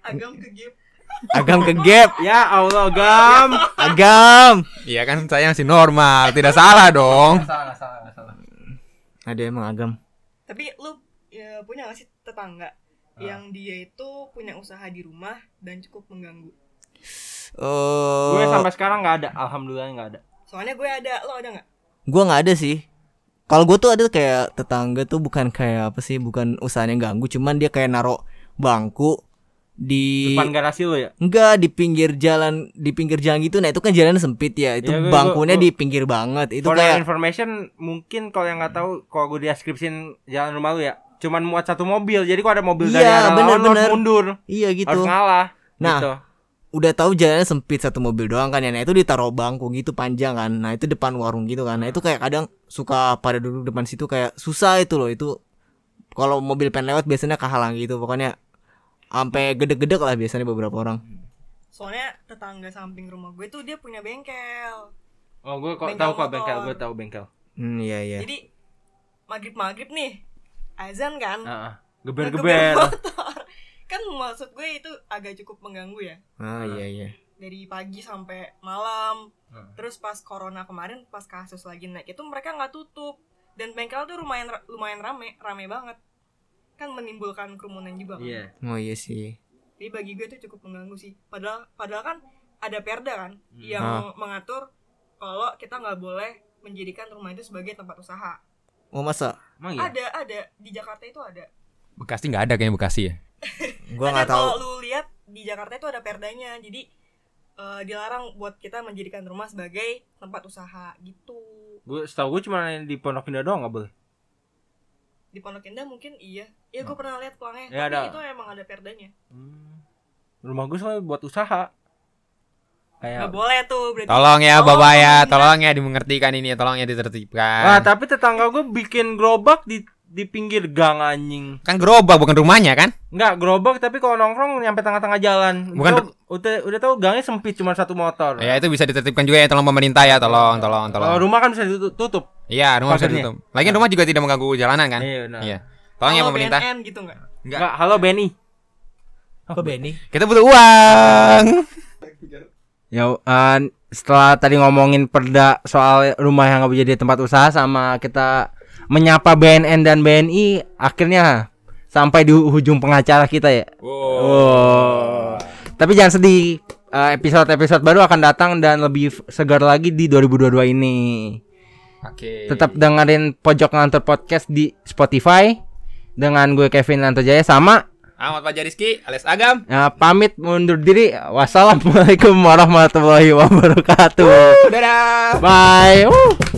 Speaker 4: Agam ke gap.
Speaker 3: Agam ke gap,
Speaker 1: Ya Allah gam.
Speaker 3: agam.
Speaker 2: Iya kan saya masih normal, tidak salah dong.
Speaker 1: salah salah salah.
Speaker 3: Ada emang agam.
Speaker 4: Tapi lu ya, punya gak sih tetangga yang dia itu punya usaha di rumah dan cukup mengganggu?
Speaker 3: Eh,
Speaker 1: Gue sampai sekarang nggak ada. Alhamdulillah nggak ada.
Speaker 4: Soalnya gue ada, lo ada nggak?
Speaker 3: gue nggak ada sih. Kalau gue tuh ada kayak tetangga tuh bukan kayak apa sih, bukan usahanya ganggu, cuman dia kayak naro bangku di
Speaker 1: Depan garasi lo ya.
Speaker 3: Enggak di pinggir jalan di pinggir jalan gitu nah itu kan jalan sempit ya itu
Speaker 1: Iya, gua-
Speaker 3: bangkunya
Speaker 1: gua-
Speaker 3: di pinggir banget itu
Speaker 1: For your
Speaker 3: kayak
Speaker 1: information mungkin kalau yang nggak tahu kalau gue deskripsiin jalan rumah lu ya. Cuman muat satu mobil. Jadi kalau ada mobil
Speaker 3: Iya,
Speaker 1: dari arah lawan, lu
Speaker 3: bener-bener.
Speaker 1: harus mundur.
Speaker 3: iya gitu
Speaker 1: Harus ngalah.
Speaker 3: Nah.
Speaker 1: gitu.
Speaker 3: udah tahu jalannya sempit satu mobil doang kan ya nah itu ditaruh bangku gitu panjang kan nah itu depan warung gitu kan nah itu kayak kadang suka pada duduk depan situ kayak susah itu loh itu kalau mobil pengen lewat biasanya kehalang gitu pokoknya sampai gede-gede lah biasanya beberapa orang
Speaker 4: Soalnya tetangga samping rumah gue tuh dia punya bengkel.
Speaker 1: Oh, gue kok
Speaker 4: Bengkel
Speaker 1: tahu kok
Speaker 4: motor.
Speaker 1: bengkel. Gue tahu bengkel.
Speaker 3: hmm iya iya
Speaker 4: Jadi maghrib maghrib nih azan kan?
Speaker 1: Heeh.
Speaker 4: Nah,
Speaker 1: Geber-geber.
Speaker 4: motor. [LAUGHS] kan maksud gue itu agak cukup mengganggu ya.
Speaker 3: ah iya iya
Speaker 4: dari pagi sampai malam.
Speaker 1: Hmm.
Speaker 4: Terus pas corona kemarin pas kasus lagi naik itu mereka nggak tutup dan bengkel tuh lumayan lumayan rame, rame banget. Kan menimbulkan kerumunan juga.
Speaker 1: [LAUGHS]
Speaker 4: kan.
Speaker 1: Iya.
Speaker 3: oh iya sih
Speaker 4: Jadi bagi gue itu cukup mengganggu sih. Padahal padahal kan ada perda kan
Speaker 1: Hmm.
Speaker 4: yang
Speaker 3: Ah.
Speaker 4: mengatur kalau kita nggak boleh menjadikan rumah itu sebagai tempat usaha.
Speaker 3: mau Oh, masa
Speaker 1: Emang iya.
Speaker 4: Ada ada di Jakarta itu ada.
Speaker 2: Bekasi nggak ada kayaknya Bekasi ya.
Speaker 3: gua
Speaker 4: Ada,
Speaker 3: nggak tahu
Speaker 4: Kalau lu lihat di Jakarta itu ada perdanya. Jadi eh, dilarang buat kita menjadikan rumah sebagai tempat usaha gitu.
Speaker 1: Gue setahu gue cuma di Pondok Indah doang nggak boleh.
Speaker 4: di Pondok Indah mungkin iya ya gue pernah lihat pelangnya
Speaker 1: Ya,
Speaker 4: tapi
Speaker 1: ada.
Speaker 4: itu emang ada perdanya
Speaker 1: Rumah gue soalnya buat usaha.
Speaker 4: nggak
Speaker 1: Kayak
Speaker 4: boleh tuh berarti
Speaker 2: Tolong ya
Speaker 4: Oh,
Speaker 2: Bapak ya,
Speaker 4: tolong ya.
Speaker 2: tolong ya dimengertikan ini, tolong ya
Speaker 1: Nah,
Speaker 2: ditertibkan.
Speaker 1: tapi tetangga gue bikin gerobak di di pinggir gang anjing.
Speaker 2: Kan gerobak bukan rumahnya kan?
Speaker 1: Enggak gerobak tapi kalau nongkrong nyampe tengah-tengah jalan. Udah-
Speaker 2: Bukan
Speaker 1: udah udah tahu gangnya sempit cuma satu motor.
Speaker 2: Ya itu bisa ditertibkan juga ya, tolong pemerintah ya, tolong, tolong,
Speaker 1: Iya, Kalau
Speaker 2: tolong.
Speaker 1: rumah kan bisa ditutup.
Speaker 2: Iya, rumah bisa
Speaker 1: pagarnya.
Speaker 2: ditutup. Lagian rumah juga tidak mengganggu jalanan kan?
Speaker 1: Iya, benar.
Speaker 2: Iya. Tolong ya
Speaker 4: Kalau
Speaker 2: pemerintah.
Speaker 4: BNN gitu nggak
Speaker 2: Enggak.
Speaker 1: Enggak, halo Benny.
Speaker 3: Kok Benny?
Speaker 2: Kita butuh uang.
Speaker 1: Ya, eh, setelah tadi ngomongin [LAUGHS] perda soal rumah yang nggak boleh jadi tempat usaha sama kita menyapa BNN dan BNI, akhirnya sampai di hujung pengacara kita ya. Oh. Tapi jangan sedih. Eh, Episode-episode baru akan datang dan lebih f- segar lagi di 2022 ini.
Speaker 2: Oke.
Speaker 1: Tetap dengerin Pojok Ngantor Podcast di Spotify dengan gue Kevin Lantojaya sama
Speaker 2: Ahmad Fajar Rizky, alias Agam.
Speaker 1: eh, pamit mundur diri. Wassalamualaikum warahmatullahi wabarakatuh.
Speaker 2: Dadah.
Speaker 1: Bye. Woo.